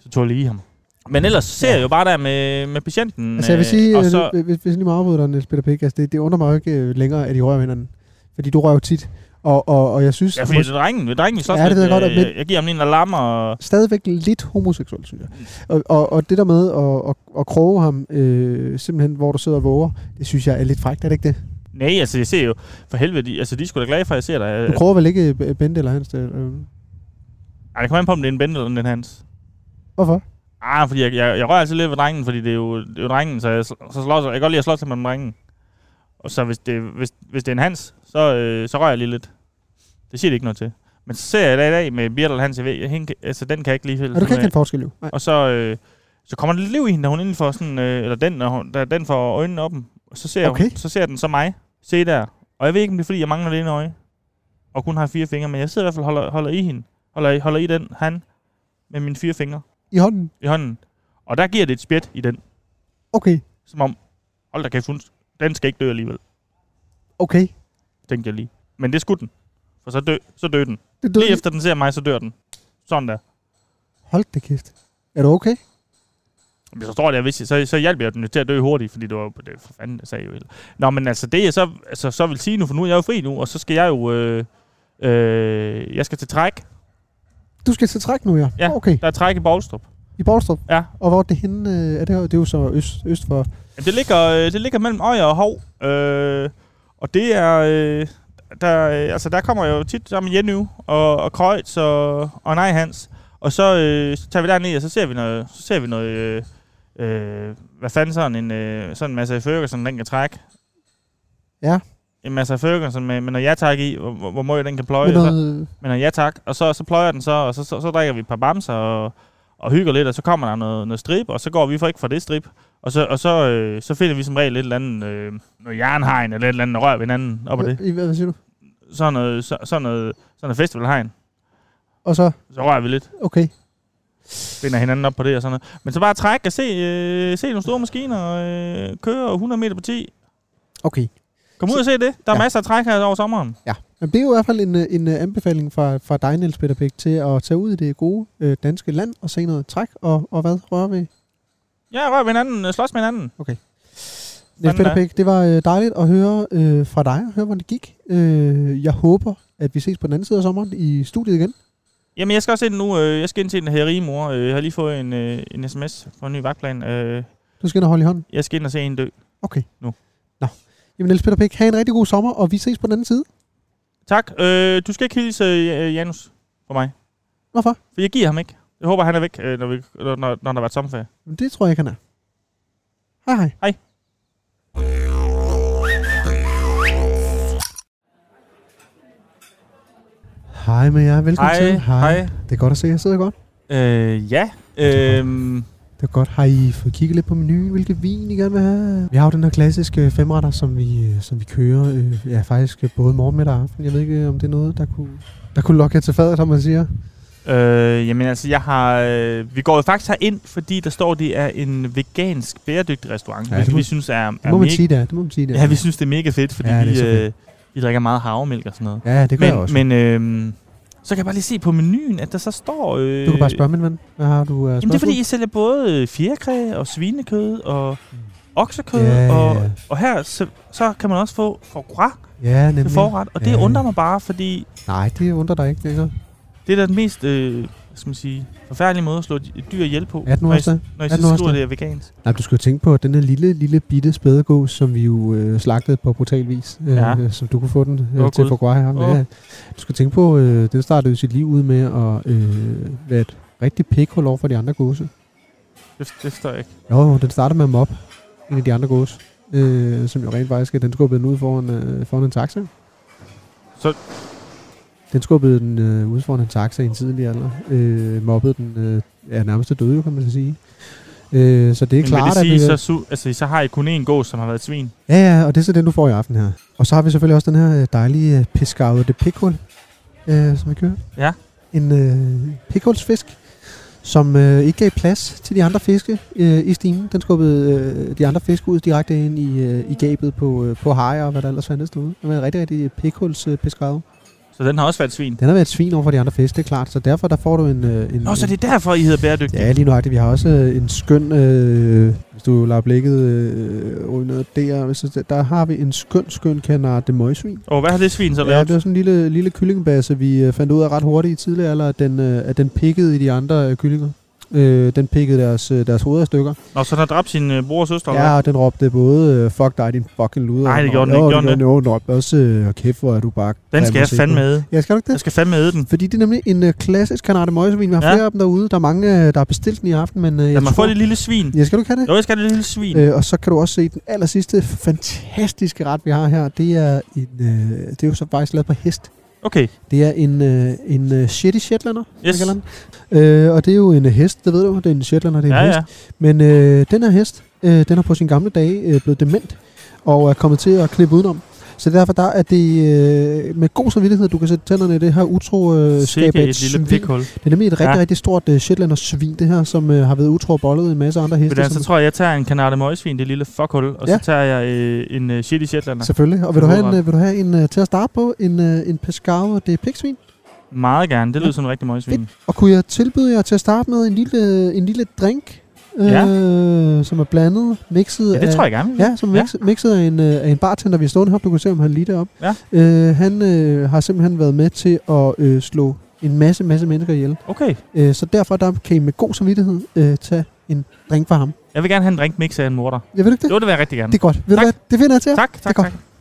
A: Så tog jeg lige i ham. Men ellers ser jeg jo bare der med, med patienten.
B: Altså jeg vil
A: øh,
B: sige,
A: og
B: øh,
A: så,
B: så... hvis, hvis jeg lige må afbryde dig, Niels Peter Pick, altså det, det undrer mig jo ikke øh, længere, at I rører ved hinanden. Fordi du rører jo tit. Og, og, og jeg synes
A: ja, fordi det er drengen, det er drengen, vi slås
B: Ja, det ved jeg
A: lidt.
B: godt, at
A: jeg,
B: mit-
A: jeg, giver ham lige en alarm, og
B: stadigvæk lidt homoseksuel, synes jeg. Og, og, og det der med at, at, at kroge ham, øh, simpelthen hvor du sidder og våger, det synes jeg er lidt frækt, er det ikke det?
A: Nej, altså jeg ser jo, for helvede, de, altså de er sgu da glade for, at jeg ser dig.
B: Du
A: Øh,
B: kroger vel ikke øh, Bente eller hans? Øh,
A: Ej, det kommer an på, om det er en Bente eller en Hans.
B: hvorfor?
A: Ah, fordi jeg, jeg, jeg rører altid lidt ved drengen, fordi det er jo, det er jo drengen, så jeg, sl- så slås, jeg kan godt lide at slås lidt med drengen. Og så hvis det, hvis, hvis det er en Hans, så, øh, så rører jeg lige lidt. Det siger det ikke noget til. Men så ser jeg i dag, i dag med Birte eller Hans, jeg ved, jeg, hende, kan- altså den kan jeg ikke lige helt.
B: Og du
A: finde
B: kan
A: ud
B: ikke
A: af.
B: kende forskel, jo. Nej.
A: Og så, øh, så kommer der lidt liv i hende, da hun inden for sådan, øh, eller den, når hun, da den får øjnene åben. Og så ser, okay.
B: Okay.
A: hun, så ser den så mig. Se der. Og jeg ved ikke, om det er, fordi jeg mangler det ene øje. Og kun har fire fingre, men jeg sidder i hvert fald og holder, holder i hende. Holder, i- holder i den, han, med mine fire fingre
B: I hånden?
A: i hånden. Og der giver det et spjæt i den,
B: Okay,
A: som om, hold da kæft, hun, den skal ikke dø alligevel,
B: okay.
A: tænkte jeg lige. Men det skulle den, for så dø, så dø den.
B: Det døde.
A: Lige efter den ser mig, så dør den. Sådan der.
B: Hold da kæft. Er du okay?
A: Men så står det, jeg vidste, så, så hjalp jeg den jo til at dø hurtigt, fordi det var, det, for fanden, det sagde jeg jo helt. Nå, men altså, det jeg så, altså, så vil sige nu, for nu er jeg jo fri nu, og så skal jeg jo, øh, øh, jeg skal til træk.
B: Du skal til træk nu, ja?
A: Ja.
B: Okay,
A: Der er træk i Borgstrup.
B: i Borgstrup.
A: Ja.
B: Og hvor er det henne? øh, Er det, det er jo så øst, øst for...
A: Jamen, Det ligger, øh, det ligger mellem Øjer og Hov. Øh, og det er... Øh, der, øh, altså, der kommer jo tit sammen med Jenny og, og Kreutz og, og Nej Hans. Og så, øh, så tager vi derned, og så ser vi noget... Så ser vi noget øh, øh, hvad fanden sådan en øh, sådan en masse Ferguson, den kan trække.
B: Ja.
A: En masse Ferguson med, med noget ja tak i, hvor, hvor, hvor må jeg den kan pløje.
B: Med
A: så-
B: noget,
A: men øh, ja tak. Og så, så pløjer den så, og så, så, så drikker vi et par bamser og, og hygger lidt, og så kommer der noget, noget strip, og så går vi for ikke fra det strip. Og så, og så, øh, så finder vi som regel et eller andet øh, noget jernhegn, eller et eller andet og rør ved hinanden op ad det.
B: I, hvad siger du?
A: Sådan noget, så, sådan noget, sådan noget festivalhegn.
B: Og så,
A: Så rører vi lidt,
B: okay.
A: binder hinanden op på det og sådan noget. Men så bare træk og se, øh, se nogle store maskiner øh, køre 100 meter på 10.
B: Okay.
A: Kom ud og se det. Der er
B: Ja.
A: ja. masser af træk her over sommeren.
B: Jamen, det er jo i hvert fald en, øh, en øh, anbefaling fra, fra dig, Niels Peter Bæk, til at tage ud i det gode øh, danske land og se noget træk, og, og hvad rører vi?
A: Ja, rør ved hinanden, øh, slås med hinanden.
B: Niels
A: Fanden
B: Peter
A: da.
B: Bæk, det var øh, dejligt at høre øh, fra dig, og høre, hvordan det gik. Øh, jeg håber, at vi ses på den anden side af sommeren i studiet igen.
A: Jamen, jeg skal også ind nu. Øh, jeg skal ind til en herimor. Øh, jeg har lige fået en, øh, en sms fra en ny vagtplan. Øh,
B: Du skal ind og holde i hånden.
A: jeg skal ind og se en dø.
B: Okay.
A: Nu.
B: Nå. Jamen, Niels Peter Bæk, have en rigtig god sommer, og vi ses på den anden side.
A: Tak. Øh, du skal ikke hilse øh, Janus for mig.
B: Hvorfor?
A: For jeg giver ham ikke. Jeg håber, han er væk, øh, når, vi, når, når, når der har været sommerferie.
B: Jamen, det tror jeg ikke, han er. Hej hej. Hej med jer, velkommen til. Det er godt at se, jeg sidder godt.
A: Øh, ja. Øhm,
B: Det er godt. Har I fået kigget lidt på menuen, hvilke vin I gerne vil have? Vi har jo den her klassiske femretter, som vi, øh, som vi kører øh, ja, faktisk øh, både morgen, middag og aften. Jeg ved ikke, øh, om det er noget, der kunne, der kunne lokke jer til fadet, som man siger.
A: øh, jamen altså, jeg har... Øh, vi går jo faktisk ind, fordi der står, det er en vegansk bæredygtig restaurant.
B: Ja,
A: Ja,
B: det
A: hvilket
B: må-
A: vi synes er,
B: Det
A: er
B: må man
A: mega,
B: sige, det er. Det må man sige, det er.
A: Ja, vi synes, det er mega fedt, fordi
B: Ja,
A: ja,
B: det er
A: vi,
B: så fedt.
A: øh, de drikker meget havremælk og sådan noget.
B: Ja, det gør jeg
A: Men,
B: også.
A: men øh, så kan jeg bare lige se på menuen, at der så står... Øh,
B: du kan bare spørge min ven. Hvad har du uh,
A: Jamen, det er fordi, I sælger både øh, fjerkræ og svinekød og oksekød,
B: Mm. Ja, ja.
A: og, og her så, så kan man også få foie gras
B: Ja, nemlig.
A: til forret, og det
B: Ja.
A: undrer mig bare, fordi
B: Nej, det undrer dig ikke. Det er
A: det er da den mest øh, hvad skal man sige, forfærdelige måde at slå et dyr ihjel på,
B: Er den
A: når I,
B: også det?
A: når I
B: er
A: så
B: den nu også
A: skriver
B: det?
A: det er vegansk.
B: Nej, men du skal jo tænke på, at den her lille, lille bitte spædegås, som vi jo øh, slagtede på brutal vis, øh,
A: Ja.
B: ja. som du kunne få den øh,
A: Åh,
B: oh, til
A: Gud.
B: for her.
A: Åh.
B: Ja. Du skal tænke på, øh, den startede jo sit liv ud med at øh, være et rigtig pikhul over for de andre gåse.
A: Det, det forstår jeg ikke.
B: Jo, jo, den startede med at mobbe en af de andre gåse, øh, som jo rent faktisk, at den skubbede den ud foran, øh, foran en taxa.
A: Så-
B: Den skubbede den øh, ud foran en taxa i en tidlig alder. Øh, mobbede den øh, ja, nærmest til døde, jo, kan man så sige. Øh, så det er
A: Men
B: klart,
A: vil det
B: at...
A: sige,
B: vi-
A: så, su- altså, så har I kun én gås, som har været et svin?
B: Ja, ja, og det er så den, du får i aften her. Og så har vi selvfølgelig også den her øh, dejlige øh, piscavede de pickle, øh, som vi kører.
A: Ja.
B: En øh, picklesfisk, som øh, ikke gav plads til de andre fiske øh, i stimen. Den skubbede øh, de andre fisk ud direkte ind i, øh, i gabet på, øh, på hajer og hvad der ellers fandtes derude. Det var en rigtig, rigtig pickles øh, piscavede.
A: Så den har også været et svin?
B: Den har været et svin over for de andre fisk, det er klart. Så derfor der får du en... Øh, en
A: Nå, så det er derfor, I hedder bæredygtige?
B: Ja, lige nu Vi har også øh, en skøn, øh, hvis du lader blikket øh, ryge ned der, hvis du, der har vi en skøn, skøn kender de møgsvin.
A: Og hvad har det svin så
B: Ja,
A: lavet?
B: det var sådan en lille, lille kyllingbasse, vi øh, fandt ud af ret hurtigt i tidligere alder, at den, øh, at den pikkede i de andre øh, kyllinger. Øh, den pikkede deres, øh, deres hoveder i stykker.
A: Nå, så den har dræbt sin øh, bror og søster? eller
B: Ja, og den råbte både, øh, fuck dig, din fucking luder.
A: Nej, det gjorde den
B: og,
A: ikke,
B: "Jo,
A: gjorde den
B: det gjorde den råbte også, øh, kæft, hvor er du bare...
A: hvad? Den
B: grim
A: skal
B: at
A: jeg
B: se
A: fandme
B: på."
A: æde.
B: Ja, skal du ikke det?
A: Jeg skal fandme æde den.
B: Fordi det er nemlig en øh, klassisk kanademøgsvin. Vi har
A: Ja.
B: ja. flere af dem derude. Der er mange, øh, der har bestilt den i aften, men... Øh,
A: Lad
B: jeg
A: mig få
B: tror-
A: det lille svin.
B: Ja, skal du ikke have det?
A: Jo, jeg skal have det lille svin.
B: Øh, og så kan du også se den aller sidste fantastiske ret, vi har her. Det er, en, øh, det er jo så faktisk lavet på hest.
A: Okay,
B: Det er en, øh, en øh, shitty shetlander, man
A: yes.
B: kalder den. Øh, og det er jo en øh, hest, det ved du. Det er en shetlander, det er
A: Ja,
B: en hest.
A: ja.
B: Men øh, den her hest, øh, den har på sine gamle dage øh, blevet dement og er kommet til at knippe udenom. Så derfor der er det øh, med god samvittighed, du kan sætte tænderne i det her utro øh,
A: Sikke
B: skabe
A: et lille pikhul.
B: Det er nemlig et rigtig,
A: Ja.
B: ja. rigtig stort øh, Shetlander-svin, det her, som øh, har været utro og bollet en masse andre
A: Men
B: heste.
A: altså,
B: som-
A: så tror jeg, jeg tager en kanade møgsvin, det lille fuckhul, og så
B: Ja.
A: tager jeg øh, en øh, shitty shetlander.
B: Selvfølgelig. Og vil du, have en,
A: Hovedret.
B: øh, vil du have en øh, til at starte på? En, øh, en pescado, det er piksvin.
A: Meget gerne. Det lyder som en rigtig møgsvin.
B: Og kunne jeg tilbyde jer til at starte med en lille, en lille drink, øh,
A: Ja.
B: som er blandet, mixet
A: Ja, det
B: af...
A: tror jeg gerne. vi vil.
B: Ja, som er mix, mixet af en, øh, af en bartender, vi har stående heroppe. Du kan se, om han lige deroppe.
A: Ja.
B: Øh, han øh, har simpelthen været med til at øh, slå en masse, masse mennesker ihjel.
A: Okay.
B: Øh, så derfor der kan I med god samvittighed øh, tage en drink fra ham.
A: Jeg vil gerne have en drinkmix af en morter.
B: Jeg ved ikke det?
A: Jo, det vil jeg rigtig gerne.
B: Det er godt. Ved du
A: Tak.
B: hvad? Det finder jeg til jer.
A: Tak,
B: Det er
A: tak,
B: godt.
A: tak.